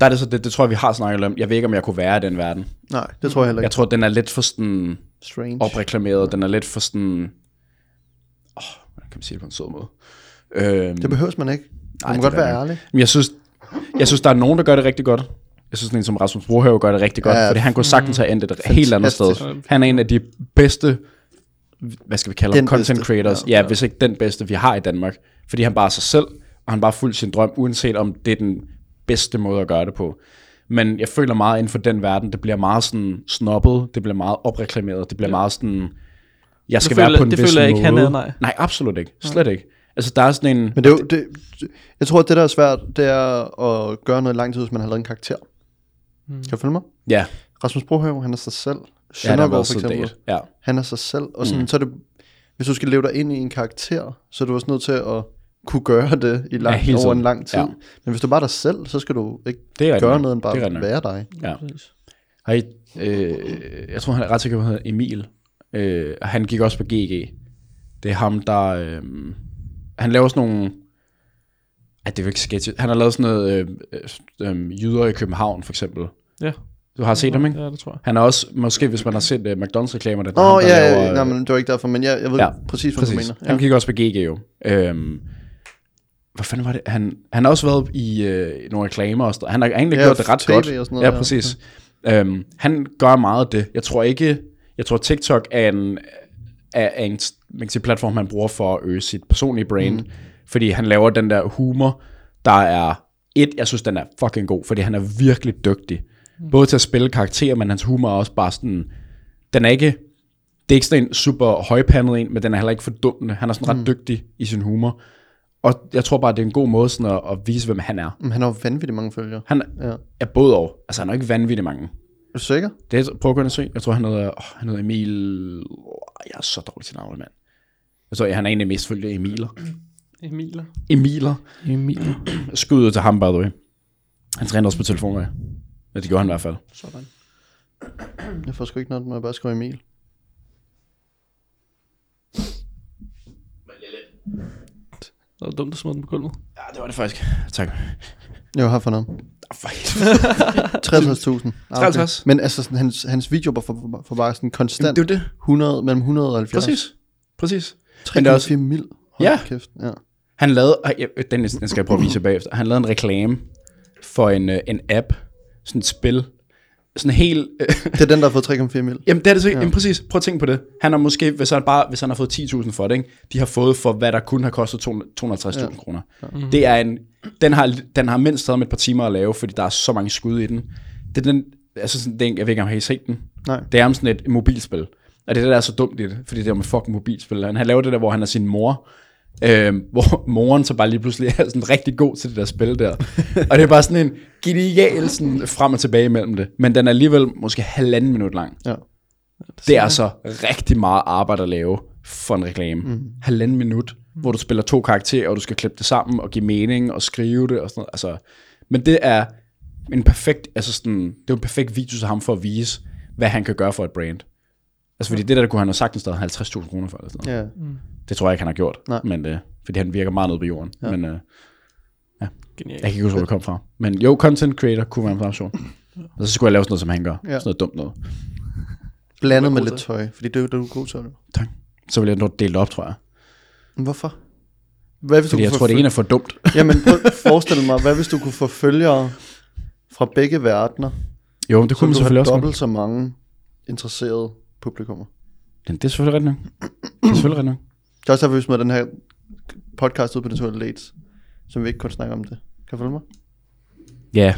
E: Der er det så, det, det tror jeg, vi har snakket om. Jeg ved ikke, om jeg kunne være i den verden.
C: Nej, det tror jeg heller
E: Jeg
C: ikke.
E: tror, den er lidt for sådan
C: Strange.
E: opreklameret. Den er lidt for sådan... Åh, oh, hvordan kan man sige det på en sød måde? Øhm,
C: Det behøves man ikke. Man
E: Nej,
C: Ej, må
E: det
C: godt
E: er
C: være
E: det.
C: ærlig.
E: Men jeg synes, jeg synes, der er nogen, der gør det rigtig godt. Jeg synes, sådan en som Rasmus Brohave gør det rigtig godt, ja,
C: Ja,
E: fordi han kunne sagtens have endt et helt andet sted.
C: fantastisk.
E: Han er en af de bedste, hvad skal vi kalde
C: Den
E: ham, content
C: bedste,
E: creators, ja. ja, hvis ikke den bedste, vi har i Danmark. Fordi han bare er sig selv, og han bare fuldt sin drøm, uanset om det er den bedste måde at gøre det på. Men jeg føler meget inden for den verden, det bliver meget sådan snobbet, det bliver meget opreklameret, det bliver ja. meget sådan, jeg skal
D: føler-
E: være på en
D: det
E: vis
D: føler jeg ikke,
E: måde.
D: han er, nej.
E: nej, absolut ikke. Slet ikke. Altså, der er sådan en...
C: Men det er jo, det, jeg tror, at det, der er svært, det er at gøre noget i lang tid, hvis man har lavet en karakter. Mm. Kan du følge mig?
E: Ja,
C: Rasmus Brohave, han er sig selv.
E: ja han har
C: Søndergaard
E: været
C: for eksempel.
E: soldat. Ja.
C: Han er sig selv. Og sådan, mm. så er det, hvis du skal leve dig ind i en karakter, så er du også nødt til at kunne gøre det i lang,
E: Ja, hele
C: ja, over en
E: tiden.
C: lang tid.
E: Ja.
C: Ja. Men hvis du bare er dig selv, så skal du ikke
E: Det er rigtigt
C: gøre
E: nok.
C: noget end bare
E: Det er rigtigt nok.
C: være dig.
E: Ja. Har I, øh, jeg tror, han er ret sikker på, at han hedder Emil. Øh, og han gik også på GG. Det er ham, der... Øh, han laver sådan nogle... Ej, det er jo ikke sketch. Han har lavet sådan noget øh, øh, øh, jyder i København, for eksempel.
D: Ja.
E: Du har set ham, ikke?
D: Ja, det tror jeg.
E: Han er også, måske hvis man har set øh, McDonald's-reklamer, det er
C: Åh,
E: ham,
C: oh,
E: der
C: ja,
E: laver,
C: ja,
E: øh,
C: nej, men det var ikke derfor, men jeg, jeg ved
E: Ja,
C: ja, præcis, hvad du
E: Præcis.
C: mener.
E: Han gik også på GG jo. Øhm, hvad fanden var det? Han, han har også været i øh, nogle reklamer og sådan noget. Han har egentlig
C: Ja,
E: gjort det ret
C: TV
E: godt.
C: og sådan noget,
E: ja,
C: ja.
E: præcis. Ja. Øhm, han gør meget af det. Jeg tror ikke... Jeg tror, TikTok er en, er, er en man kan sige, platform, han bruger for at øge sit personlige brand. Mm. Fordi han laver den der humor, der er... Et, jeg synes, den er fucking god, fordi han er virkelig dygtig. Både til at spille karakterer, men hans humor er også bare sådan... Den er ikke det er ikke sådan en super højpandet en, men den er heller ikke fordummende. Han er sådan ret
C: Mm.
E: dygtig i sin humor. Og jeg tror bare, det er en god måde sådan at, at vise, hvem han er.
C: Men han har jo vanvittigt mange følgere.
E: Han
C: Ja.
E: er både og. Altså, han er jo ikke vanvittig mange.
C: Er du sikker?
E: Det er, prøv at gå ind og se. Jeg tror, han hedder, åh, han hedder Emil... Åh, Jeg er så dårlig til navnet, mand. Jeg tror, han er en af de mest følgte Emiler.
D: Emiler.
E: Emiler.
D: Emiler.
E: Skud ud til ham, by the way. Han trænede også på telefon, ja. Ja, det gjorde han i hvert fald.
D: Sådan.
C: Jeg får sgu ikke noget, når jeg bare skriver Emil.
D: Det var dumt at smide den på gulvet.
E: Ja, det var det faktisk. Tak.
C: Jeg har for noget.
E: Ah, for
C: 53.000. Ah, okay.
E: 53.
C: Men altså, sådan, hans, hans video var for, for, for bare sådan konstant
E: helvede. Det er jo det.
C: 100, mellem 100 og 70.
E: Præcis. Præcis. Men det er
C: 3,4
E: også,
C: mil. Hold
E: Ja.
C: Kæft. ja.
E: han lavede, ej, jeg- øh, den, den skal jeg prøve at vise jer bagefter. Han lavede en reklame for en, øh, en app, sådan et spil. Sådan helt, øh,
C: Det er den, der har fået 3,4 mil.
E: Jamen, det er det så, ja. jamen, præcis. Prøv at tænke på det. Han har måske, hvis han, bare, hvis han har fået 10.000 for det, ikke? de har fået for, hvad der kun har kostet 200 250.000 ja. kroner. Ja. Det er en, den har, den har mindst taget med et par timer at lave, fordi der er så mange skud i den. Det er den, altså sådan, den, jeg ved ikke, om I har set den.
C: Nej.
E: Det er om sådan et mobilspil. Og det er det, der er så dumt i det, fordi det er med fucking mobilspil. Han, han laver det der, hvor han er sin mor, Øhm, hvor moren så bare lige pludselig er sådan rigtig god til det der spil der. og det er bare sådan en genial sådan frem og tilbage mellem det. Men den er alligevel måske halvanden minut lang.
C: Ja.
E: Det er altså rigtig meget arbejde at lave for en reklame. Mm. Halvanden minut, hvor du spiller to karakterer, og du skal klippe det sammen, og give mening, og skrive det, og sådan noget. Altså, men det er en perfekt, altså sådan, det er en perfekt video til ham for at vise, hvad han kan gøre for et brand. Altså fordi det der, der kunne han have sagtens stadig 50.000 kroner for. Eller sådan noget.
C: Ja.
E: Det tror jeg ikke, han har gjort.
C: Nej.
E: Men, øh, fordi han virker meget nede på jorden. Ja. Men øh, jeg
D: Genialt.
E: kan ikke huske, hvor det kom fra. Men jo, content creator kunne være en fremsjon. Og så skulle jeg lave sådan noget, som han gør.
C: Ja.
E: Sådan noget dumt noget.
C: Blandet med lidt tøj, fordi det er jo det, er du er god til.
E: Tak. Så ville jeg nå delt op, tror jeg.
C: Men hvorfor? Hvad hvis
E: Fordi
C: du
E: jeg
C: kunne
E: tror,
C: få
E: det ene er for dumt.
C: føl- Jamen, prøv, forestil mig, hvad hvis du kunne få følgere fra begge verdener,
E: Jo, men det
C: så
E: kunne man
C: du har
E: selvfølgelig også.
C: dobbelt så mange interesserede publikummer.
E: godt. Men det er selvfølgelig rigtigt nok. Det er selvfølgelig rigtigt nok.
C: Det er også derfor, vi smider den her podcast ud på Naturlig Lates, som vi ikke kun snakker om det. Kan du følge mig?
E: Ja.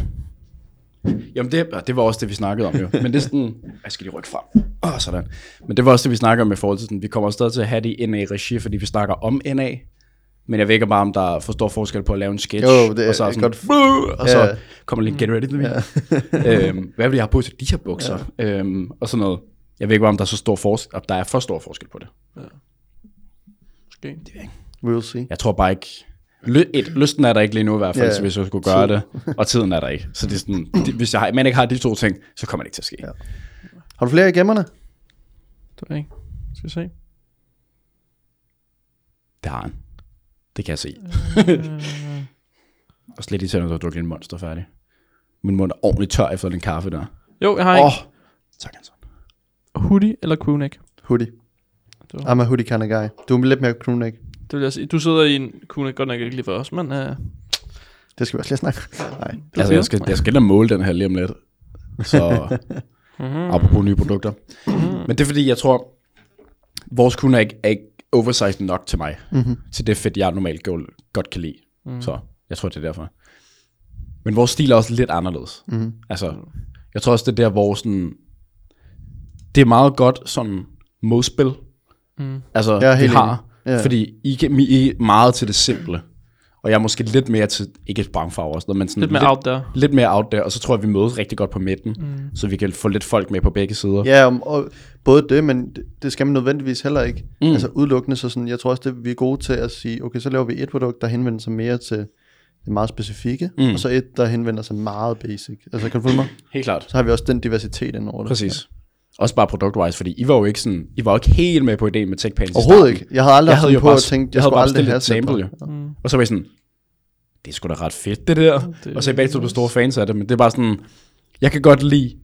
E: Jamen det, og det var også det, vi snakkede om jo. Men det er sådan, jeg skal lige rykke frem. Åh, sådan. Men det var også det, vi snakkede om i forhold til sådan, vi kommer stadig til at have det i NA-regi, fordi vi snakker om NA. Men jeg ved ikke bare, om der er for stor forskel på at lave en sketch,
C: Jo, det er-
E: og så er
C: jeg
E: sådan,
C: godt-
D: Øh,
E: godt. og så
C: Ja.
E: kommer lige get ready to me. øhm, hvad vil jeg have på til de her bukser? Ja. Øhm, og sådan noget. Jeg ved ikke bare, om der er så stor forskel, om der er for stor forskel på det.
D: Måske. Det
C: We'll see.
E: Jeg tror bare ikke... Ly- et, lysten er der ikke lige nu i hvert fald,
C: Ja,
E: yeah. hvis jeg skulle gøre det. Og tiden er der ikke. Så det er sådan, de, hvis jeg har, man ikke har de to ting, så kommer det ikke til at ske.
C: Ja. Har du flere i gemmerne?
D: ved jeg ikke. Skal vi se.
E: Det har han. Det kan jeg se. og slet ikke selv, når du har drukket en monster færdig. Min mund er ordentligt tør efter den kaffe der.
D: Jo, jeg har
E: Åh,
D: en.
E: oh, tak Anton.
D: Hoodie eller crewneck?
C: Hoodie.
D: Det var-
C: I'm a hoodie kind of guy. Du er lidt mere crewneck.
D: Det vil jeg sige. Du sidder i en crewneck, godt nok ikke lige for os, men... Uh,
C: Det skal vi også lige snakke. Nej.
E: Altså, jeg skal, jeg skal ind og måle den her lige om lidt. Så
D: Mhm.
E: apropos nye produkter. Men det er fordi, jeg tror, vores kunder er ikke, er ikke oversized nok til mig. Mm-hmm. Til det fedt, jeg normalt go- godt kan lide.
D: Mhm.
E: Mm. Så jeg tror, det er derfor. Men vores stil er også lidt anderledes. Mm. Altså, jeg tror også, det er der, hvor sådan, det er meget godt som modspil. Mm. Altså,
C: Jeg er
E: ja, vi
C: helt
E: har.
C: enig. Ja.
E: Ja. Fordi I, kan, I er meget til det simple. Og jeg er måske lidt mere til, ikke et bramfarver og sådan noget, men sådan
D: lidt mere out there.
E: lidt mere out der, og så tror jeg, vi mødes rigtig godt på midten, mm. så vi kan få lidt folk med på begge sider.
C: Ja, om- og både det, men det- det skal man nødvendigvis heller ikke. Mm. Altså udelukkende, så sådan, jeg tror også, det, vi er gode til at sige, okay, så laver vi et produkt, der henvender sig mere til det meget specifikke, mm. og så et, der henvender sig meget basic. Altså, kan du følge mig?
E: Helt klart.
C: Så har vi også den diversitet ind over det.
E: Præcis. Også bare product-wise, fordi I var jo ikke sådan, I var jo ikke helt med på ideen med TechPans i
C: Overhovedet
E: starten.
C: ikke. Jeg havde aldrig haft
E: havde
C: sådan
E: jo
C: på
E: bare,
C: at tænke, jeg
E: jeg havde
C: skulle
E: bare
C: aldrig
E: bestilt et
C: have
E: sample,
C: Zeppelin.
E: jo. Og så var jeg sådan, det er sgu da ret fedt, Mm. det der. Det, og så er I begge to blevet store fans af det, men det er bare sådan, jeg kan godt lide,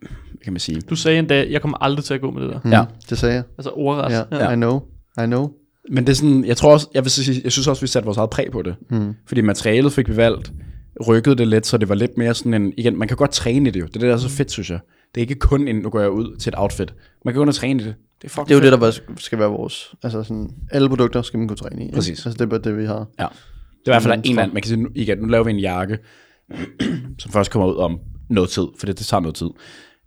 E: hvad kan man sige?
D: Du sagde en dag, jeg kommer aldrig til at gå med det der.
E: Ja.
C: Mm, Det sagde jeg.
D: Altså overrasket.
C: Ja, ja. I know. I know.
E: Men det er sådan, jeg tror også, jeg, vil sige, jeg synes også, vi satte vores eget præg på det. Mm. Fordi materialet fik vi valgt, rykkede det lidt, så det var lidt mere sådan en, igen, man kan godt træne i det jo. Det er det, der er så fedt, synes jeg. Det er ikke kun en, nu går jeg ud til et outfit. Man kan gå ind og træne i det. Det er fucking
C: Det er jo det,
E: fedt.
C: der bare skal være vores... Altså sådan, alle produkter skal man kunne træne i. ikke?
E: Præcis.
C: Altså, det er bare det, vi har.
E: Ja. Det er i hvert fald en
C: Mindre.
E: eller anden, man kan sige, nu, igen, nu laver vi en jakke, som først kommer ud om noget tid, for det, det tager noget tid.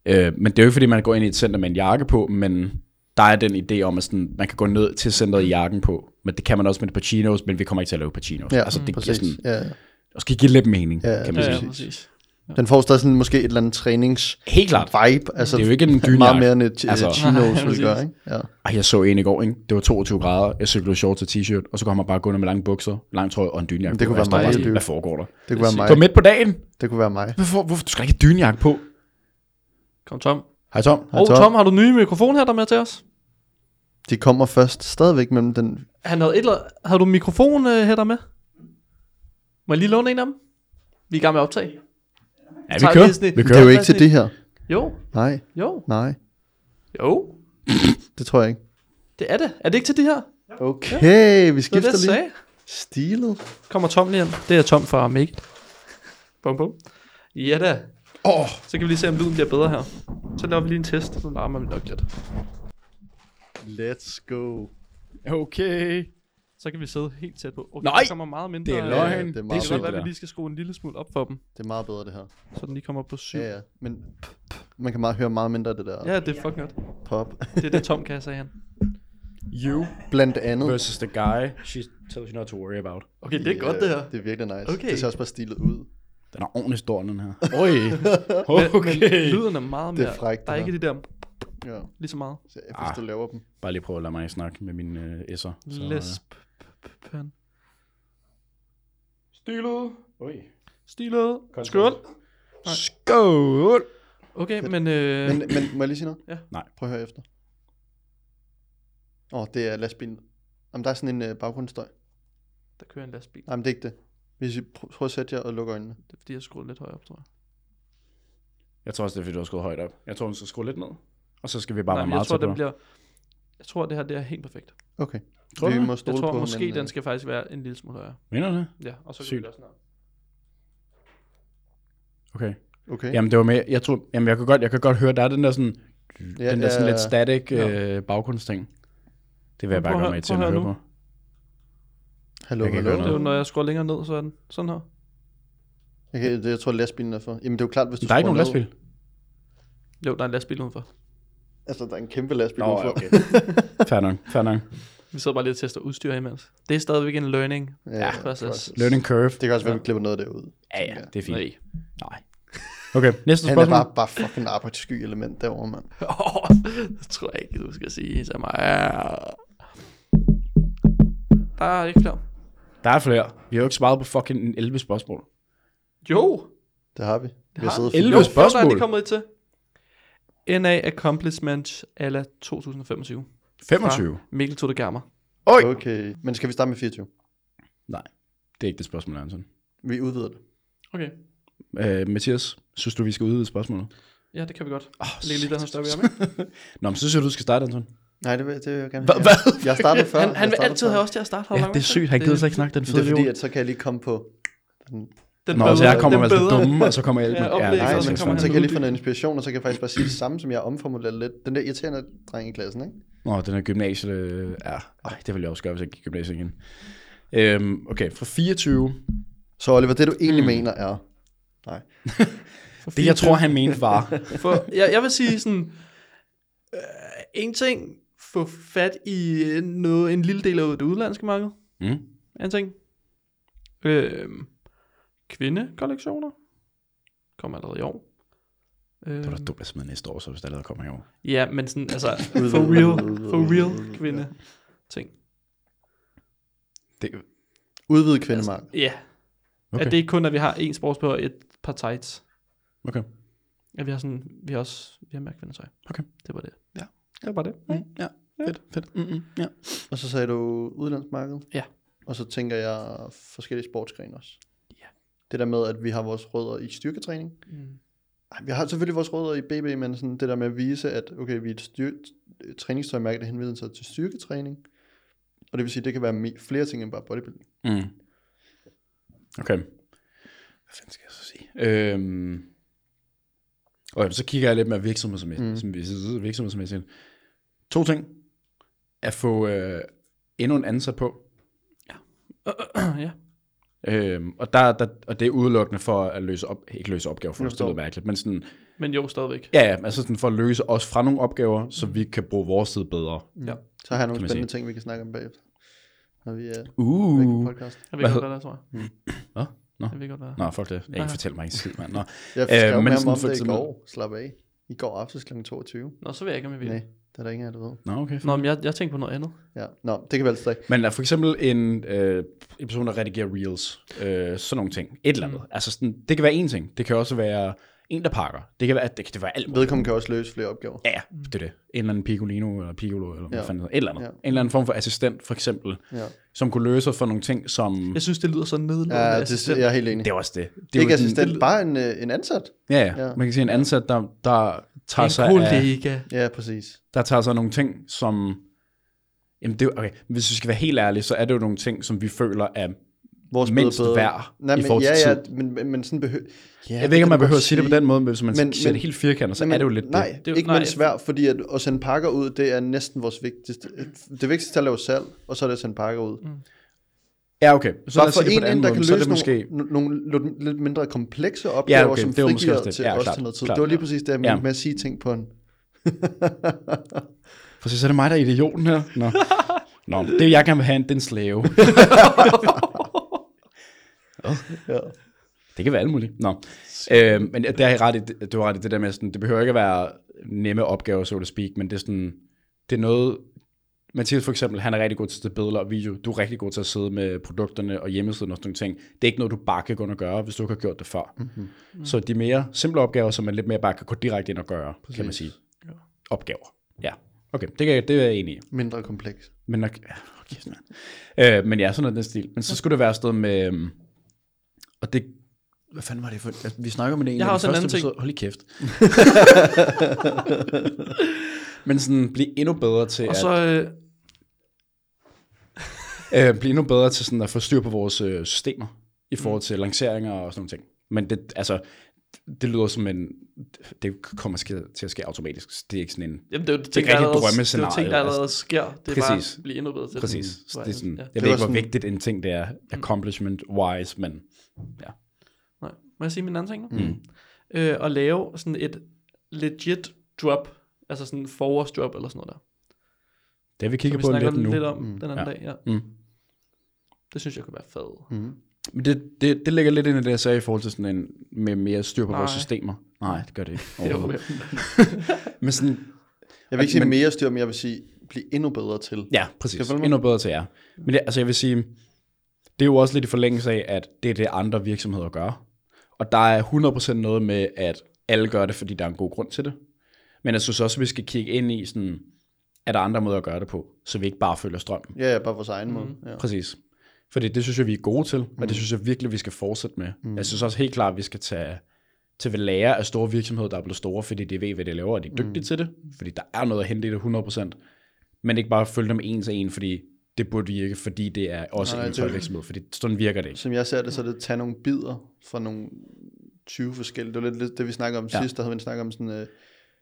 E: Øh, men det er jo ikke, fordi man går ind i et center med en jakke på, men der er den idé om, at sådan, man kan gå ned til centret i jakken på, men det kan man også med Pacinos, men vi kommer ikke til at lave Pacinos.
C: Ja,
E: altså, det giver
C: præcis.
E: sådan,
C: Ja, ja.
E: og skal give lidt mening,
C: Ja,
E: kan man
D: Ja,
E: sige.
D: ja, præcis.
C: Den får stadig sådan måske et eller andet trænings
E: Helt klart.
C: vibe. Altså,
E: Det er jo ikke en
C: Meget
E: dynejakke.
C: mere end et
E: Altså-
C: altså,
D: Nej,
C: chinos vil
D: præcis.
C: gøre, ikke? Ja.
E: Ej, jeg så en i går, ikke? Det var 22 grader, jeg cyklede shorts og t-shirt, og så kom han bare gående med lange bukser, lang trøje og en dynejakke.
C: Men det
E: på.
C: kunne
E: Jeg
C: være
E: står
C: mig,
E: bare
C: jo,
E: sådan,
C: det er jo-
E: Hvad foregår der?
C: Det kunne være mig.
E: Gå midt på dagen.
C: Det kunne være mig.
E: Hvorfor, hvorfor, du skal da ikke have dynejakke på.
D: Kom Tom.
E: Hej Tom.
C: Hej,
D: Og Tom.
C: Tom.
D: Tom, har du nye mikrofon her, der er med til os?
C: De kommer først stadigvæk mellem den...
D: Han havde, et eller... havde du en mikrofon øh, her, der er med? Må jeg lige låne en af dem? Vi er i gang med at optage.
E: Ja, vi
D: Tak,
E: kører.
D: Disney.
E: Vi
C: Det er
E: kører.
C: jo ikke til det her.
D: Jo,
C: Nej,
D: jo,
C: nej.
D: jo.
C: Det tror jeg ikke.
D: Det er det. Er det ikke til det her? Det
C: Okay, vi
D: var det,
C: skifter
D: jeg
C: lige.
D: sagde.
C: Stilet.
D: Kommer Tom lige ind. Det er Tom fra Make It. Bum, bum. Ja da.
E: Åh,
D: Så kan vi lige se, om lyden bliver bedre her. Så laver vi lige en test. Nu larmer vi nok lidt.
C: Let's go.
E: okay.
D: Så kan vi sidde helt tæt på. Okay,
E: Nej!
D: Der kommer meget mindre.
E: Det er
D: øh,
E: løgn.
C: Ja, det er
E: det er, det er
C: meget
D: Det kan
E: sygt,
D: godt
E: det
D: være, at vi
E: der.
D: lige skal skrue en lille smule op for dem.
C: Det er meget bedre, det her.
D: Så den lige kommer på syv.
C: Ja, ja. Men pff, man kan meget høre meget mindre af det der
D: Ja, det er fucking godt.
C: pop.
D: Det er det, Tom kan, sagde han.
E: You
C: Blandt andet.
E: versus the guy she tells you not to worry about.
D: Okay, det er godt, det her.
C: Det er virkelig nice.
D: Okay.
C: Det ser også bare stilet ud.
E: Den er ordentligt stor, den her. Oj. Okay.
D: Øh, Lyden er meget mere.
C: Det er frækt, det
D: der er ikke
C: her.
D: det der
C: Ja.
D: lige så meget.
C: Så jeg forstår,
E: Ah.
C: du laver dem.
E: Bare lige prøve at lade mig snakke med mine øh, s'er. Så, øh,
D: Lesp. p- p- p-
E: Stilet. Oj.
D: Stilet. Skål. Nej.
E: Skål.
D: Okay, men... Øh,
C: Men, men må jeg lige sige noget?
D: Ja.
E: Nej.
C: Prøv at høre efter. Åh, oh, det er lastbilen. Jamen, der er sådan en øh, baggrundsstøj.
D: der kører en lastbil.
C: Nej, men det er ikke det. Hvis I pr- prøver at sætte jer og lukke øjnene.
D: Det er fordi, jeg skruede lidt højere op, tror jeg.
E: Jeg tror også, det er fordi, du har skruet højt op. Jeg tror, den skal skrue lidt ned. Og så skal vi bare
D: Nej,
E: være
D: men jeg
E: meget
D: tror,
E: tæt
D: den
E: på.
D: bliver... Jeg tror, det her det er helt perfekt.
C: Okay.
E: Tror du
C: vi
E: det?
C: må
D: Jeg
C: stole
D: tror
C: på,
D: måske,
C: men, øh,
D: den skal faktisk være en lille smule højere.
E: Mener du det?
D: Ja, og så kan
E: Sygt.
D: vi også noget.
E: Okay.
C: Okay.
E: Jamen, det var med, jeg tror, jamen, jeg kan godt, jeg kan godt høre, der er den der sådan, ja, den der sådan
C: ja,
E: lidt
C: ja.
E: static ja. øh, baggrundsting. Det vil jeg
D: Prøv
E: bare
D: at
E: gøre
D: høre-
E: mig til
D: prøv
E: at
D: at
E: høre
D: høre
E: på.
C: Hallo,
E: Jeg kan
C: hallo.
E: ikke høre
D: Det er jo, når jeg skruer længere ned, så er den sådan her.
C: Okay, det, jeg tror, lastbilen er for. Jamen, det er jo klart, hvis du
E: Der er ikke
C: skruer
E: nogen
C: ned-
E: lastbil.
D: Jo, der er en lastbil udenfor.
C: Altså, der er en kæmpe lastbil
E: Nå,
C: udenfor.
E: okay. Fair nok, fair nok.
D: Vi sidder bare lige og tester udstyr imens. Det er stadigvæk en learning.
C: Ja,
D: process.
C: process.
E: Learning curve.
C: Det kan også være, at vi klipper noget derud.
E: Ja, ja, det er fint.
D: Nej.
E: Nej. Okay, næste
C: Han er
E: spørgsmål.
C: bare, bare fucking arbejdssky element derovre, mand.
D: Åh, det tror jeg ikke, du skal sige så meget. Der er ikke flere.
E: Der er flere. Vi har jo ikke svaret på fucking 11 spørgsmål.
D: Jo!
C: Det har vi. Vi har siddet og
E: Elleve
C: filmet.
D: jo,
E: spørgsmål.
D: der er lige kommet et til. NA Accomplishment ala 2025.
E: 25?
D: Fra Mikkel Tote Gammer.
C: Okay, men skal vi starte med 24?
E: Nej, det er ikke det spørgsmål, Anton.
C: Vi udvider det.
D: Okay.
E: Øh, Mathias, synes du, vi skal udvide spørgsmålet?
D: Ja, det kan vi godt. Oh, Læg lige den her større med.
E: Nå, men så synes jeg, du skal starte, Anton.
C: Nej, det vil, det vil jeg gerne.
E: Hva-
C: have.
E: hvad?
C: Jeg startede før.
D: Han, han
C: Jeg
D: vil
C: startede
D: altid
C: før.
D: have os til at starte. Har du
E: Ja,
D: lagt
E: det
D: mærke
E: er
D: til
E: sygt, han gider sig ikke snakke den
C: Det
E: fede
C: er fordi,
E: idiot.
C: at så kan jeg lige komme på...
D: Den
E: Nå,
D: bedre,
E: så jeg kommer
D: den
E: med sådan
D: bedre.
E: dumme, og så kommer jeg
D: Ja,
E: ikke med...
D: oplæg,
C: Nej,
E: det er
D: så
C: men
D: kommer
E: sådan.
C: så
D: han
C: kan jeg lige
D: ud.
C: få noget inspiration, og så kan jeg faktisk bare sige det samme, som jeg har omformuleret lidt. Den der irriterende dreng i klassen, ikke?
E: Nå, den her gymnasie, øh, ja, øh, det ville jeg også gøre, hvis jeg gik i gymnasiet igen. Øhm, okay, fra 24.
C: Så Oliver, det du
E: Mm.
C: egentlig mener er... Nej.
E: Det, jeg tror, han mente var...
D: For, jeg, jeg vil sige sådan, øh, en ting, få fat i øh, noget, en lille del af det udenlandske marked.
E: Mm.
D: En ting. Øh, kvindekollektioner. Kommer allerede i år. Øh,
E: Det var da dumt at smide næste år, så hvis det allerede kommer herover.
D: ja, men sådan, altså,
C: Udvide,
D: for real,
C: udvide,
D: for
C: udvide,
D: real
C: ja.
D: kvinde ting.
E: Det,
C: Udvide kvindemark.
D: Ja, yeah. okay.
E: Okay.
D: at det ikke kun, at vi har en sportsbøger og et par tights.
E: okay.
D: At vi har sådan, vi har også, vi har mærket kvindetøj.
E: Okay.
D: Det var det.
E: Ja.
D: Det var det. Mm.
E: Ja, fedt, fedt. Mm-mm, ja.
C: Og så sagde du udlandsmarked?
D: Ja.
C: Og så tænker jeg forskellige sportsgrene også.
D: Ja.
C: Det der med, at vi har vores rødder i styrketræning.
D: Mm.
C: Ej, Vi har selvfølgelig vores rødder i BB, men sådan det der med at vise, at okay, vi er et styr- et træningstøjmærke, der henvender sig til styrketræning. Og det vil sige, at det kan være me- flere ting end bare bodybuilding.
E: Mm. Okay. Hvad fanden skal jeg så sige? Øhm, okay, så kigger jeg lidt mere virksomhedsmæssigt. Mm. Som, vi- virksomhedsmæssigt. To ting. At få øh, endnu en ansat på.
D: ja.
E: Øhm, og, der, der, og det er udelukkende for at løse op, ikke løse opgaver for os, det
C: forstår.
E: lyder mærkeligt, men sådan,
D: Men jo, stadigvæk.
E: ja, ja, altså sådan for at løse os fra nogle opgaver, så vi kan bruge vores tid bedre.
D: Ja.
C: Så har jeg nogle
E: man
C: spændende ting, vi kan snakke om bagefter. Når vi er væk
E: Uh.
C: på podcast.
D: Jeg ved
E: Hvad
D: ikke, hvad der er, tror jeg.
E: Hvad? Nå.
D: Jeg ved godt, hvad.
E: Nå, fuck det. Jeg kan
D: Nej.
E: ikke fortælle mig en skid, mand. Nå.
C: Jeg skrev
E: men
C: øh, med ham
E: sådan
C: om
E: for
C: det i
E: eksempel-
C: går. Slap af. I går aftes kl. 22.
D: Nå, så ved jeg ikke, om jeg vil.
C: Nej, der er der ingen af jer, der ved.
E: Nå, okay.
D: Nå, men jeg, jeg tænkte på noget andet.
E: Mm.
C: Ja. Nå, det kan vi altså ikke.
E: Men er for eksempel en, øh, en person, der redigerer reels, øh, sådan nogle ting, et eller andet. Mm. Altså sådan, det kan være en ting. Det kan også være en, der pakker. Det kan være, det kan det være alt muligt.
C: Vedkommende kan også løse flere opgaver.
E: Ja, ja, det er det. En eller anden Piccolino, eller Piccolo, eller ja.
C: Ja.
E: hvad fanden det hedder. et eller andet.
C: Ja.
E: En eller anden form for assistent, for eksempel,
C: Ja,
E: som kunne løse os for nogle ting, som...
D: Jeg synes, det lyder så nedladende.
C: ja det,
D: assistent.
C: jeg er helt enig.
E: Det er også det. det
C: Det
E: er
C: er ikke
E: jo sådan-
C: assistent, bare en, øh, en ansat.
E: Ja, ja,
C: Ja.
E: Man kan sige, en ansat, der, der, tager sig
D: en
E: af,
D: kollega.
C: Ja, præcis.
E: der tager sig af nogle ting, som... Jamen, det, er jo- okay. Hvis vi skal være helt ærlige, så er det jo nogle ting, som vi føler er...
C: Vores
E: Mindst
C: bedre-
E: værd
C: Nej,
E: i
C: men,
E: forhold til
C: ja, ja,
E: tid.
C: men, men, men sådan behøver... Ja,
E: jeg ved ikke, om man behøver at sige det på den måde, men hvis man men,
C: Men-
E: ser det
C: men-
E: helt firkantet, så
C: Nej, men-
E: er det jo lidt
C: nej,
E: det.
D: Det er jo-
C: ikke
D: nej,
C: mindst værd, fordi at, at sende pakker ud, det er næsten vores vigtigste. Det vigtigste er at lave salg, og så er det at sende pakker ud. Mm.
E: Ja, okay. Så lad
C: Bare
E: os
C: for
E: sige det
C: en,
E: på den anden
C: en der
E: måde,
C: kan
E: så er
C: løse
E: det måske...
C: måske... nogle, nogle lidt- lidt mindre komplekse opgaver,
E: okay,
C: som
E: det er jo måske
C: frigiver
E: også det.
C: til
E: Ja,
C: os
E: klart,
C: til noget tid.
E: klart,
C: det var lige
E: klart.
C: præcis det, jeg
E: Ja.
C: mente med at sige ting på en...
E: For så er det mig, der er idioten her. Nå, Nå det jeg gerne vil have, det er en slave.
C: Ja.
E: Det kan være alt muligt. Nå. Øh, men det er ret i, det, du har ret i det der med, sådan, det behøver ikke at være nemme opgaver, so to speak, men det er sådan, det er noget, Mathias for eksempel, han er rigtig god til at billeder og video. Du er rigtig god til at sidde med produkterne og hjemmesiden og sådan nogle ting. Det er ikke noget, du bare kan gå ind og gøre, hvis du ikke har gjort det før. Mm-hmm. Så de mere simple opgaver, som man lidt mere bare kan gå direkte ind og gøre, Præcis. kan man sige. Opgaver. Ja. Okay, det, kan, jeg- det er jeg enig i.
C: Mindre kompleks.
E: Men, nok, ja, hold kæft, mand. øh, men ja, sådan noget i den stil. Men så skulle det være sådan noget med... øhm, Og det... Hvad fanden var det for... Altså, vi snakker med det en
D: Jeg har
E: af de
D: også en
E: første
D: anden ting.
E: episode- Hold lige kæft. men sådan blive endnu bedre til
D: Og så, øh,
E: at, øh, blive endnu bedre til sådan at få styr på vores øh, systemer i forhold til lanceringer og sådan nogle ting. Men det, altså, det lyder som en... Det kommer ske- til at ske automatisk. Det er ikke sådan en...
D: jamen, det er jo ting,
E: rigtig
D: der allerede, det er jo
E: drømmescenarie, altså.
D: ting, der allerede sker. Det er
E: Præcis.
D: bare at blive endnu bedre til.
E: Præcis.
D: Mm.
E: Det er sådan,
D: Ja. Mm.
C: var
E: jeg ved ikke, hvor
C: sådan-
E: vigtigt en ting det er, accomplishment-wise, men
D: Nej. Må jeg sige min anden ting nu? Mm. Øh, at lave sådan et legit drop, altså sådan en forwards drop eller sådan noget der.
E: det har
D: Som
E: vi kigger
D: vi
E: på
D: snakker
E: lidt nu.
D: lidt om mm. den anden
E: Ja.
D: dag. Ja.
E: Mm.
D: Det synes jeg kunne være fed.
E: Men det, det, det ligger lidt ind i det, jeg sagde i forhold til sådan en, med mere styr på
D: Nej.
E: vores systemer. Nej, det gør det ikke.
D: Jo,
E: overhovedet.
D: ja.
E: Men sådan,
C: Jeg vil ikke sige
E: Men-
C: mere styr, men jeg vil sige, blive endnu bedre til.
E: ja, præcis.
C: Skal jeg følge mig?
E: Endnu bedre til jer. Men det, altså, jeg vil sige, det er jo også lidt i forlængelse af, at det er det, andre virksomheder gør. Og der er 100% noget med, at alle gør det, fordi der er en god grund til det. Men jeg synes også, at vi skal kigge ind i sådan, er der andre måder at gøre det på, så vi ikke bare følger strømmen.
C: Ja, ja, bare vores egen mm. måde. Ja.
E: Præcis. Fordi det synes jeg, vi er gode til, mm. og det synes jeg virkelig, vi skal fortsætte med. Mm. Jeg synes også helt klart, at vi skal tage til at lære af store virksomheder, der er blevet store, fordi de ved, hvad de laver, og de er dygtige mm. til det. Fordi der er noget at hente i det 100%. Men ikke bare følge dem en til en, fordi det burde virke, fordi det er også
C: Nej,
E: nej,
C: nej,
E: en
C: det er
E: for
C: jo-
E: virksomhed. Fordi sådan virker det ikke.
C: Som jeg ser det, så er det at tage nogle bidder fra nogle 20 forskellige. Det var lidt, lidt det, vi snakkede om
E: Ja.
C: ja. sidst, der havde vi snakket om sådan, øh, det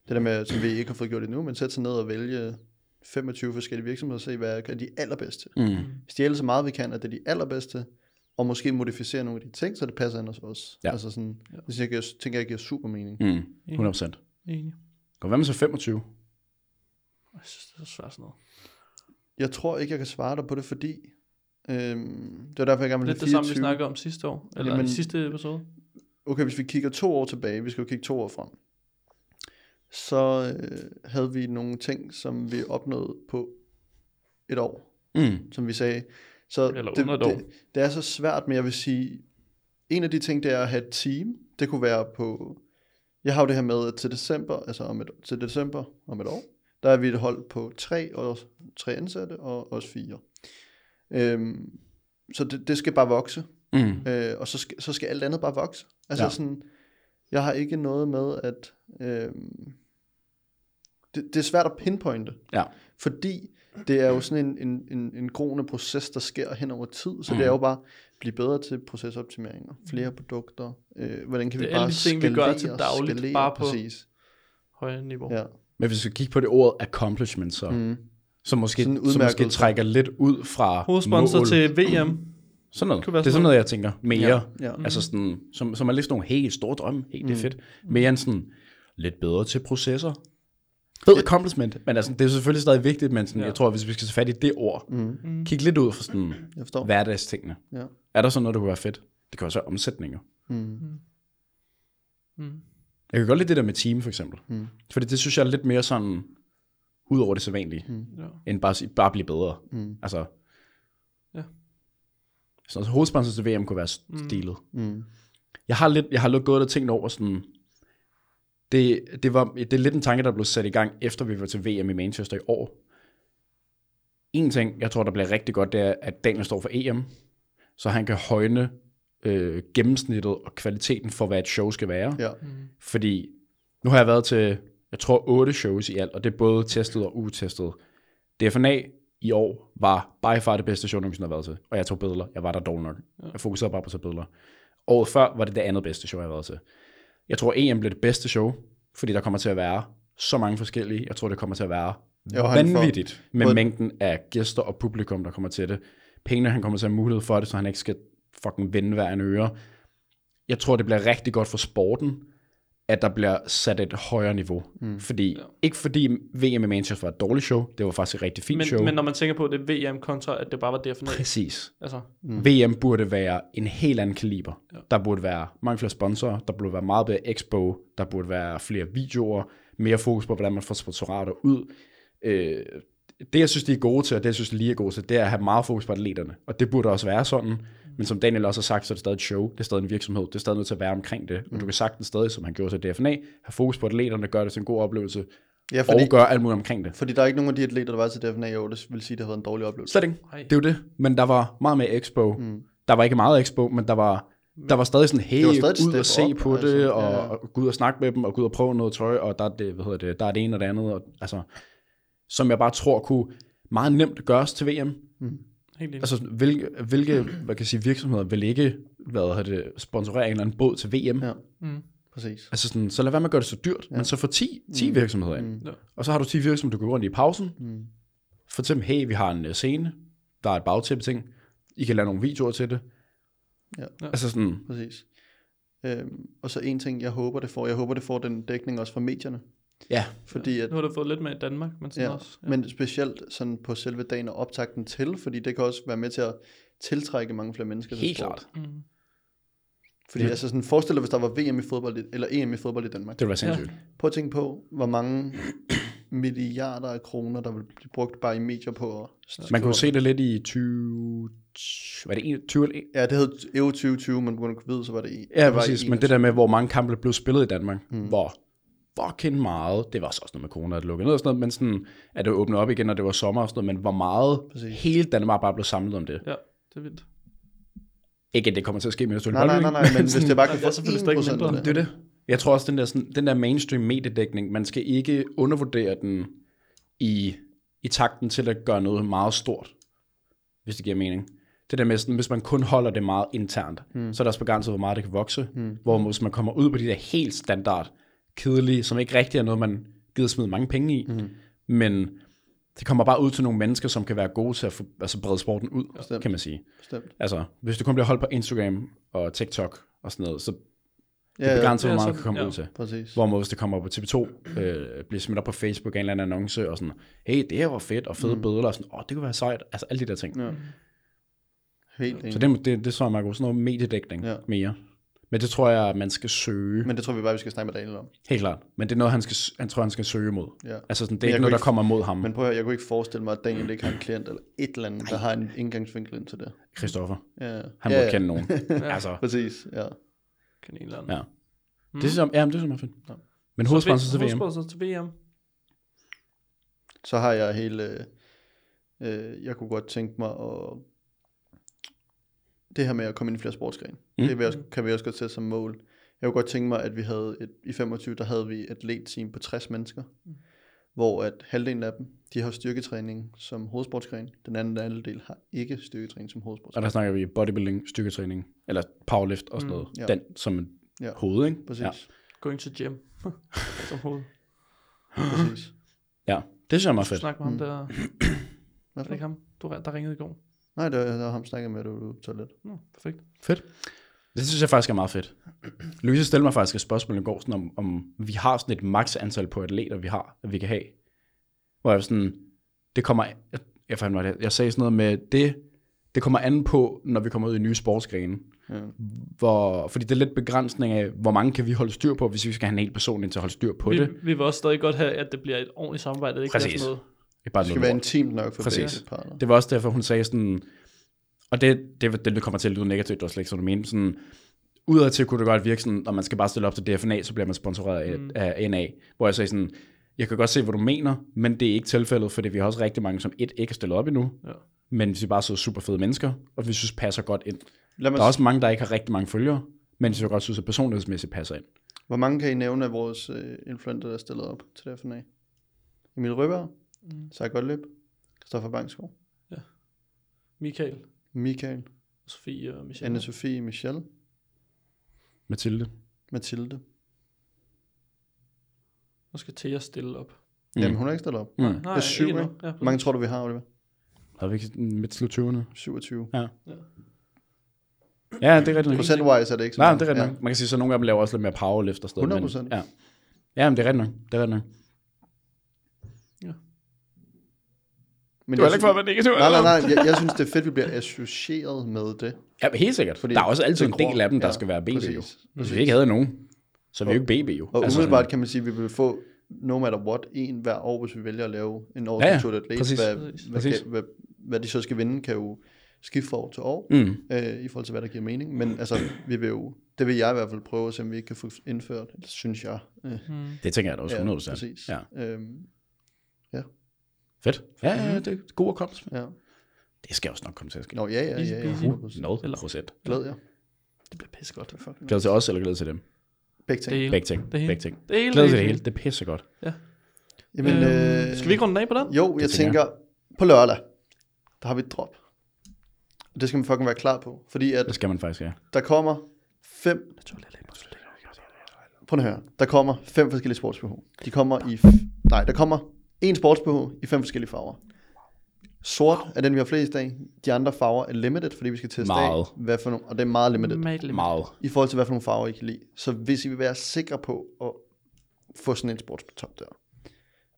C: der med, som vi ikke har fået gjort endnu, men sætte sig ned og vælge 25 forskellige virksomheder og se, hvad er de allerbedste.
E: Mm.
C: Stjæle så meget vi kan, at det er de allerbedste, og måske modificere nogle af de ting, så det passer ind hos os.
E: Ja.
C: Altså sådan, det synes jeg, tænker jeg giver super mening.
E: Mm. 100%.
D: Enig.
E: Og hvad med så 25?
D: Jeg synes, det er så svært sådan noget.
C: Jeg tror ikke, jeg kan svare dig på det, fordi øhm, det var derfor, jeg gerne ville
D: Lidt
C: have
D: det samme, vi
C: 24.
D: snakkede om sidste år, eller Jamen,
C: Jamen-
D: i sidste episode.
C: okay, hvis vi kigger to år tilbage, vi skal jo kigge to år frem, så øh, havde vi nogle ting, som vi opnåede på et år,
E: Mm.
C: som vi sagde. Så
D: Eller
C: det,
D: under et år.
C: det, det er så svært, men jeg vil sige, en af de ting, det er at have et team. Det kunne være på, jeg har jo det her med, at til december, altså om et, til december om et år, der er vi et hold på tre, og tre ansatte og os fire. Øhm, så det, det skal bare vokse.
E: Mm.
D: Mm-hmm.
C: Øh, og så skal, så skal alt andet bare vokse. Altså
E: Ja.
C: ja. sådan, jeg har ikke noget med, at øh, det, det er svært at pinpointe,
E: Ja.
C: fordi det er jo sådan en, en, en, en groende proces, der sker hen over tid, så mm.
D: Mm-hmm.
C: det er jo bare at blive bedre til procesoptimeringer, flere produkter, øh, hvordan kan vi
D: Det er alle
C: bare
D: de ting, vi gør til dagligt,
C: skalere,
D: bare på-
C: præcis.
D: Højere niveau.
C: Ja.
E: Men hvis vi kigger på det ord accomplishment, så, mm. så måske,
C: Sådan
E: så måske
C: udmærkelse.
E: trækker lidt ud fra
D: Hovedsponsor
E: mål.
D: til Mm. VM.
E: Sådan noget.
D: Kunne
E: Det
D: være
E: er sådan
D: sådan
E: noget, jeg tænker mere. Ja,
C: Ja,
E: ja.
C: ja.
E: Altså sådan, som, som er lidt sådan nogle helt store drømme. Helt det er fedt. Mere end sådan, lidt bedre til processer. Fed accomplishment. Men altså, det er selvfølgelig stadig vigtigt, men sådan, ja. jeg tror, hvis vi skal tage fat i det ord, mm. kig lidt ud fra sådan
C: Jeg forstår.
E: hverdagstingene.
C: Ja.
E: Er der sådan noget, der kunne være fedt? Det kan også være omsætninger.
C: Mm.
D: Mm,
E: Jeg kan godt lide det der med team, for eksempel. Mm. Fordi det synes jeg er lidt mere sådan, ud over det sædvanlige, mm.
D: Ja.
E: end bare, at sige- bare at blive bedre.
C: Mm.
E: Altså,
D: Ja.
E: Så altså, hovedsponsor til VM kunne være stilet.
C: Mm.
E: Jeg har lidt, jeg har lidt gået og tænkt over sådan, det, det, var, det er lidt en tanke, der blev sat i gang, efter vi var til VM i Manchester i år. En ting, jeg tror, der bliver rigtig godt, det er, at Daniel står for EM, så han kan højne øh, gennemsnittet og kvaliteten for, hvad et show skal være.
C: Ja.
E: Fordi nu har jeg været til, jeg tror, otte shows i alt, og det er både testet og utestet. DFNA i år var by far det bedste show, jeg nogensinde har været til. Og jeg tog billeder. Jeg var der dårlig nok. Jeg fokuserede bare på at tage billeder. Året før var det det andet bedste show, jeg har været til. Jeg tror, EM blev det bedste show, fordi der kommer til at være så mange forskellige. Jeg tror, det kommer til at være
C: Jo, han får-
E: vanvittigt med
C: både-
E: mængden af gæster og publikum, der kommer til det. Pengene, han kommer til at have mulighed for det, så han ikke skal fucking vende hver en øre. Jeg tror, det bliver rigtig godt for sporten, at der bliver sat et højere niveau. Mm. Fordi, ja. Ikke fordi VM i Manchester var et dårligt show, det var faktisk et rigtig fint show.
D: Men, men når man tænker på det VM kontra, at det bare var det for
E: Præcis.
D: Altså,
E: Mm. VM burde være en helt anden kaliber. Ja. Der burde være mange flere sponsorer, der burde være meget bedre expo, der burde være flere videoer, mere fokus på, hvordan man får sponsorater ud. Øh, det, jeg synes, de er gode til, og det, jeg synes, lige er gode til, det er at have meget fokus på atleterne. Og det burde også være sådan. Men som Daniel også har sagt, så er det stadig et show, det er stadig en virksomhed, det er stadig nødt til at være omkring det. Og du kan sagtens stadig, som han gjorde til DFNA, have fokus på atleterne, gøre det til en god oplevelse,
C: Ja,
E: fordi...
C: fordi-
E: og gøre alt muligt omkring det.
C: Fordi der er ikke nogen af de atleter, der var til DFNA i år, der vil sige, at det har været en dårlig oplevelse.
E: Slet ikke. Det er jo det. Men der var meget mere expo. Mm. Der var ikke meget expo, men der var, der var stadig sådan, hey,
C: var stadig et
E: ud
C: step
E: og se
C: op,
E: på
C: altså.
E: det,
C: Ja,
E: og,
C: ja.
E: og gå ud og snakke med dem, og gå ud og prøve noget tøj, og der er det, hvad hedder det, der er det ene og det andet. Og, altså, som jeg bare tror kunne meget nemt gøres til VM.
C: Mm.
D: helt enig.
E: Altså, hvilke, hvilke hvad kan jeg sige, virksomheder vil ikke hvad hedder det, sponsorere en eller anden båd til VM?
C: Ja.
D: Mm.
C: Præcis.
E: Altså sådan, så lad være med at gøre det så dyrt, ja. men så få 10, 10 mm. virksomheder ind.
D: Ja.
E: Mm. Og så har du 10 virksomheder, du kan gå rundt i pausen.
C: Mm.
E: Mm. For eksempel, hey, vi har en øh, scene, der er et bagtæppe ting, I kan lave nogle videoer til det.
C: Ja.
E: Ja. Altså sådan,
C: Præcis. Øhm, og så en ting, jeg håber, det får. Jeg håber, det får den dækning også fra medierne.
E: ja,
C: Fordi at,
D: Nu har du fået lidt med i Danmark, men sådan
C: ja,
D: ja. også. Ja.
C: men specielt sådan på selve dagen og optakten til, fordi det kan også være med til at tiltrække mange flere mennesker. til
E: helt
C: sport.
E: klart.
D: Mm.
C: Fordi altså sådan, forestil dig, hvis der var VM i fodbold, i- eller EM i fodbold i Danmark.
E: Det vil være sindssygt. Ja.
C: Prøv at tænke på, hvor mange milliarder af kroner, der vil blive brugt bare i medier på. At
E: Man kunne jo se det lidt i 20... Var det 21 eller
C: Ja, det hed EU 2020, men på grund af covid, så var det i.
E: Ja,
C: det var
E: præcis.
C: i
E: Men det der med, hvor mange kampe blev spillet i Danmark, mm. hvor fucking meget, det var så også noget med corona, at lukke ned og sådan noget, men sådan, at det åbnede op igen, og det var sommer og sådan noget, men hvor meget
C: Præcis.
E: hele Danmark bare blev samlet om det.
D: ja, det er vildt.
E: Ikke, at det kommer til at ske med Østjylland.
C: Nej, nej, nej, nej, men hvis det bare kan
D: Der er selvfølgelig stadig
C: få 1%
D: mindre.
C: af
E: Det er
C: det.
E: det. Jeg tror også, den der, sådan, den der mainstream mediedækning, man skal ikke undervurdere den i, i takten til at gøre noget meget stort, hvis det giver mening. Det der med, sådan, hvis man kun holder det meget internt, mm. så er der også begrænset, hvor meget det kan vokse. Mm. Hvor hvis man kommer ud på de der helt standard, kedelige, som ikke rigtig er noget, man gider smide mange penge i, mm. men det kommer bare ud til nogle mennesker, som kan være gode til at få, altså brede sporten ud,
C: Bestemt.
E: kan man sige.
C: Bestemt.
E: Altså, hvis du kun bliver holdt på Instagram og TikTok og sådan noget, så
C: Ja, ja,
E: begrænset,
D: Ja,
E: hvor meget
D: så-
E: man kan komme
D: ja.
E: ud til.
C: præcis.
E: Hvorimod hvis det kommer på TV2, øh, bliver smidt op på Facebook af en eller anden annonce, og sådan, hey, det her var fedt, og fede mm. billeder, og sådan, åh, det kunne være sejt, altså alle de der ting. Ja.
C: Ja. Helt
E: Så
C: enig.
E: det, det, det tror jeg, man er sådan noget mediedækning
C: Mm. Ja.
E: ja. mere. Men det tror jeg, man skal søge, Men,
C: Men det tror vi bare, vi skal snakke med Daniel om.
E: helt klart. Men det er noget, han, skal, s- han tror, han skal søge mod.
C: Ja.
E: Altså sådan, det
C: Men
E: er
C: jeg
E: ikke
C: kunne
E: noget, der
C: ikke-
E: kommer mod ham,
C: Men prøv at høre, jeg kunne ikke forestille mig, at Daniel ikke har en klient eller et eller andet, der har en indgangsvinkel ind til det.
E: Christoffer.
C: Ja.
E: Han
C: ja,
E: må
C: ja.
E: kende nogen. altså,
C: Præcis, ja.
D: Kan en eller anden.
E: ja. Det er som, ja, men det er som er fedt. Men
D: Mm. Så
E: hovedsponsor
D: vi-
E: til VM.
D: Hovedsponsor til VM.
C: Så har jeg hele... øh, Øh, jeg kunne godt tænke mig at... Det her med at komme ind i flere sportsgrene. Mm. Det vil jeg også, kan vi også godt sætte som mål. Jeg kunne godt tænke mig, at vi havde et, i 25, der havde vi et atletteam på 60 mennesker, mm. hvor at halvdelen af dem, de har styrketræning som hovedsportsgren. Den anden halvdel har ikke styrketræning som
E: Og
C: hovedsportsgren.
E: der snakker vi bodybuilding, styrketræning, eller powerlift og sådan noget.
C: Mm. Ja.
E: Den som en
C: Ja.
E: hoved, ikke?
C: Præcis,
E: Ja.
D: Going to gym. Som hoved.
C: præcis.
E: ja. Det synes jeg er meget fedt.
D: Snak med ham der.
C: Hvad
D: Er det ikke ham, du, der ringede i går?
C: Nej, det var, det var ham snakket med, at du tog lidt.
D: Nå, perfekt.
E: Fedt. Det synes jeg faktisk er meget fedt. Louise stillede mig faktisk et spørgsmål i går, sådan om, om vi har sådan et maks antal på atleter, vi har, at vi kan have. Hvor jeg var sådan, det kommer, jeg, jeg, fandt mig det, jeg sagde sådan noget med, det det kommer an på, når vi kommer ud i nye sportsgrene. Ja. Hvor, fordi det er lidt begrænsning af, hvor mange kan vi holde styr på, hvis vi skal have en hel person ind til at holde styr på
D: Vi,
E: det.
D: vi vil også stadig godt have, at det bliver et ordentligt samarbejde. Det ikke
E: Præcis.
D: bliver sådan noget.
E: Det er bare
C: Det skal
E: noget
C: være
E: lort.
C: intimt nok for
E: Præcis.
C: begge parter.
E: Det var også derfor, hun sagde sådan, og det, det, det kommer til at lyde negativt, det var slet ikke sådan, du mente, sådan, udadtil kunne det godt virke sådan, når man skal bare stille op til DFNA, så bliver man sponsoreret af, mm. af NA, hvor jeg sagde sådan, jeg kan godt se, hvad du mener, men det er ikke tilfældet, fordi vi har også rigtig mange, som et ikke er stillet op endnu,
D: Ja.
E: men vi er bare så super fede mennesker, og vi synes passer godt ind.
C: Lad mig,
E: Der er også mange, der ikke har rigtig mange følgere, men som jeg godt synes, at personlighedsmæssigt passer ind.
C: Hvor mange kan I nævne af vores øh, influencer, der er stillet op til det her finale? Emil Røberg, mm. Sark Gottlieb, Christoffer Bangsgaard,
D: Michael,
C: Michael,
D: Sofie og Michelle.
C: anne Sofie, Michelle,
E: Mathilde.
C: Mathilde.
D: Nu skal Thea stille op.
C: Mm. Jamen, hun er ikke stillet op.
E: Mm.
D: Nej,
C: Det er syv,
D: ikke
C: ikke?
D: endnu. Ja,
C: Hvor mange tror du, vi har, Oliver?
E: Havde vi ikke midt slut 20'erne?
C: 27.
E: Ja, det er rigtigt. nok.
C: Procentwise er det ikke så
E: Nej,
C: mange.
E: det er rigtigt ja. nok. Man kan sige, så nogle af dem laver også lidt mere powerlift og sådan
C: 100%.
E: Men, ja. ja, men det er rigtigt nok. Det er rigtigt nok.
C: Men
E: Du er
C: jeg
E: heller ikke
C: synes-
E: for at være negativ.
C: Nej, nej, nej. Jeg, jeg synes, det er fedt, vi bliver associeret med det.
E: Ja, men helt sikkert. Fordi der er også altid
C: det
E: en del
C: gror.
E: af dem, der
C: Ja,
E: ja, skal være BB jo.
C: præcis.
E: Hvis vi ikke havde nogen, så er vi jo ikke BB jo.
C: Og
E: Altså,
C: umiddelbart kan man sige, at vi vil få no matter what, en hver år, hvis vi vælger at lave en år
E: Ja, ja,
C: ja, til atlet.
E: præcis.
C: Hvad,
D: Præcis.
C: hvad,
E: Præcis.
C: Kan, hvad, hvad de så skal vinde, kan jo skifte fra år til år,
E: Mm.
C: øh, i forhold til, hvad der giver mening. Men altså, vi vil jo, det vil jeg i hvert fald prøve, at se, om vi ikke kan få indført, eller synes jeg. Øh,
E: Det tænker jeg da også 100%. Ja,
C: præcis.
E: Mm. Ja.
C: Øhm,
E: Fedt. Ja, ja, det er god at komme.
C: ja.
E: Det skal også nok komme til at ske.
C: Mhm. Nå, ja, ja,
D: Easy
C: ja. ja,
D: peasy.
C: 100%.
E: Noget procent.
C: Glæder jeg.
D: Det bliver pissegodt. Det
E: Glæder til os, eller glæder til dem?
C: Begge ting.
D: hele.
E: Begge ting.
D: Det hele.
E: Begge ting.
D: Det hele.
E: Glæder til det hele. Det pisser godt.
C: Jamen, øh,
D: Øhm, skal vi ikke runde den af på den?
C: Jo, jeg
E: tænker
C: tænker, på lørdag, der har vi et drop. Og det skal man fucking være klar på. Fordi at
E: Det skal man faktisk, ja.
C: der kommer fem Prøv at høre. Der kommer fem forskellige sports -BH. De kommer i... F- Nej, der kommer en sports -BH i fem forskellige farver. Sort er den, vi har flest af. De andre farver er limited, fordi vi skal teste
E: Meget.
C: af, hvad for nogle, og det er meget limited,
D: Madeleine.
E: Meget.
C: i forhold til, hvad for nogle farver I kan lide. Så hvis I vil være sikre på at få sådan en sports på top der,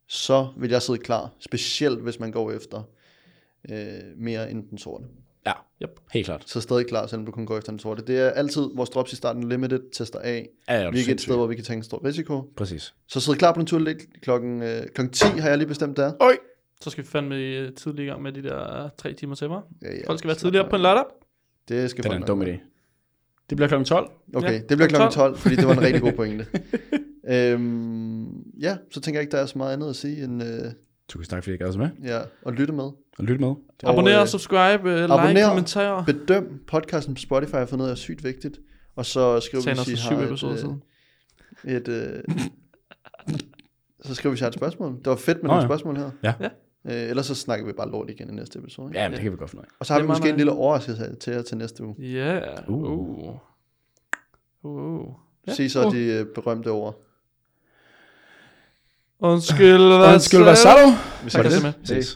C: så vil jeg sidde klar, specielt hvis man går efter øh, mere end den sorte.
E: Ja, yep. helt klart.
C: Så stadig klar, selvom du kun går efter den sorte. Det er altid vores drops i starten limited, tester af,
E: Ja, ja, du
C: hvilket et
E: sindssyg.
C: sted, hvor vi kan tage en stor risiko.
E: Præcis.
C: Så sidde klar på den tur lidt. Klokken, øh, klokken 10 har jeg lige bestemt der.
E: Oj!
D: Så skal vi fandme øh, tidlig i gang med de der øh, tre timer til mig.
C: Ja, ja.
D: Folk skal være tidligere på en lørdag.
C: Det skal
E: Det er
C: folk
E: en
C: nok
E: dum
C: være.
E: idé. Det bliver klokken 12.
C: Okay,
D: Ja,
C: det bliver
D: klokken
C: klokken 12, fordi det var en rigtig god pointe. øhm, ja, så tænker jeg ikke, der er så meget andet at sige end øh,
E: Tusind tak, fordi I gad så med.
C: ja, at lytte med.
E: Og lyt med.
C: Og,
D: Abonner,
C: øh,
D: subscribe, øh, like,
C: abonner.
D: kommentarer.
C: Bedøm podcasten på Spotify, jeg har fundet ud af er sygt vigtigt. Og så skriv,
D: Sagen
C: hvis
D: også
C: I
D: for syv
C: har
D: episoder
C: et, øh,
D: siden.
C: et øh, så skriv, hvis I har et spørgsmål. Det var fedt med
E: Nå
C: nogle
E: ja.
C: spørgsmål her.
E: Ja.
D: Ja.
C: Øh, ellers så snakker vi bare lort igen i næste episode. Ikke?
E: Ja, men det kan vi godt finde ud af.
C: Og så har
D: Det
C: vi
D: er
C: måske
D: meget
C: en lille overraskelse til jer til næste uge.
D: Ja.
E: Uh.
D: Uh. Uh. Ja.
C: Se så de øh, berømte ord.
D: Undskyld, hvad
E: Undskyld, hvad
D: sagde
E: sagde du?
D: Tak,
E: Var det
D: Kassim.
E: det? Ses.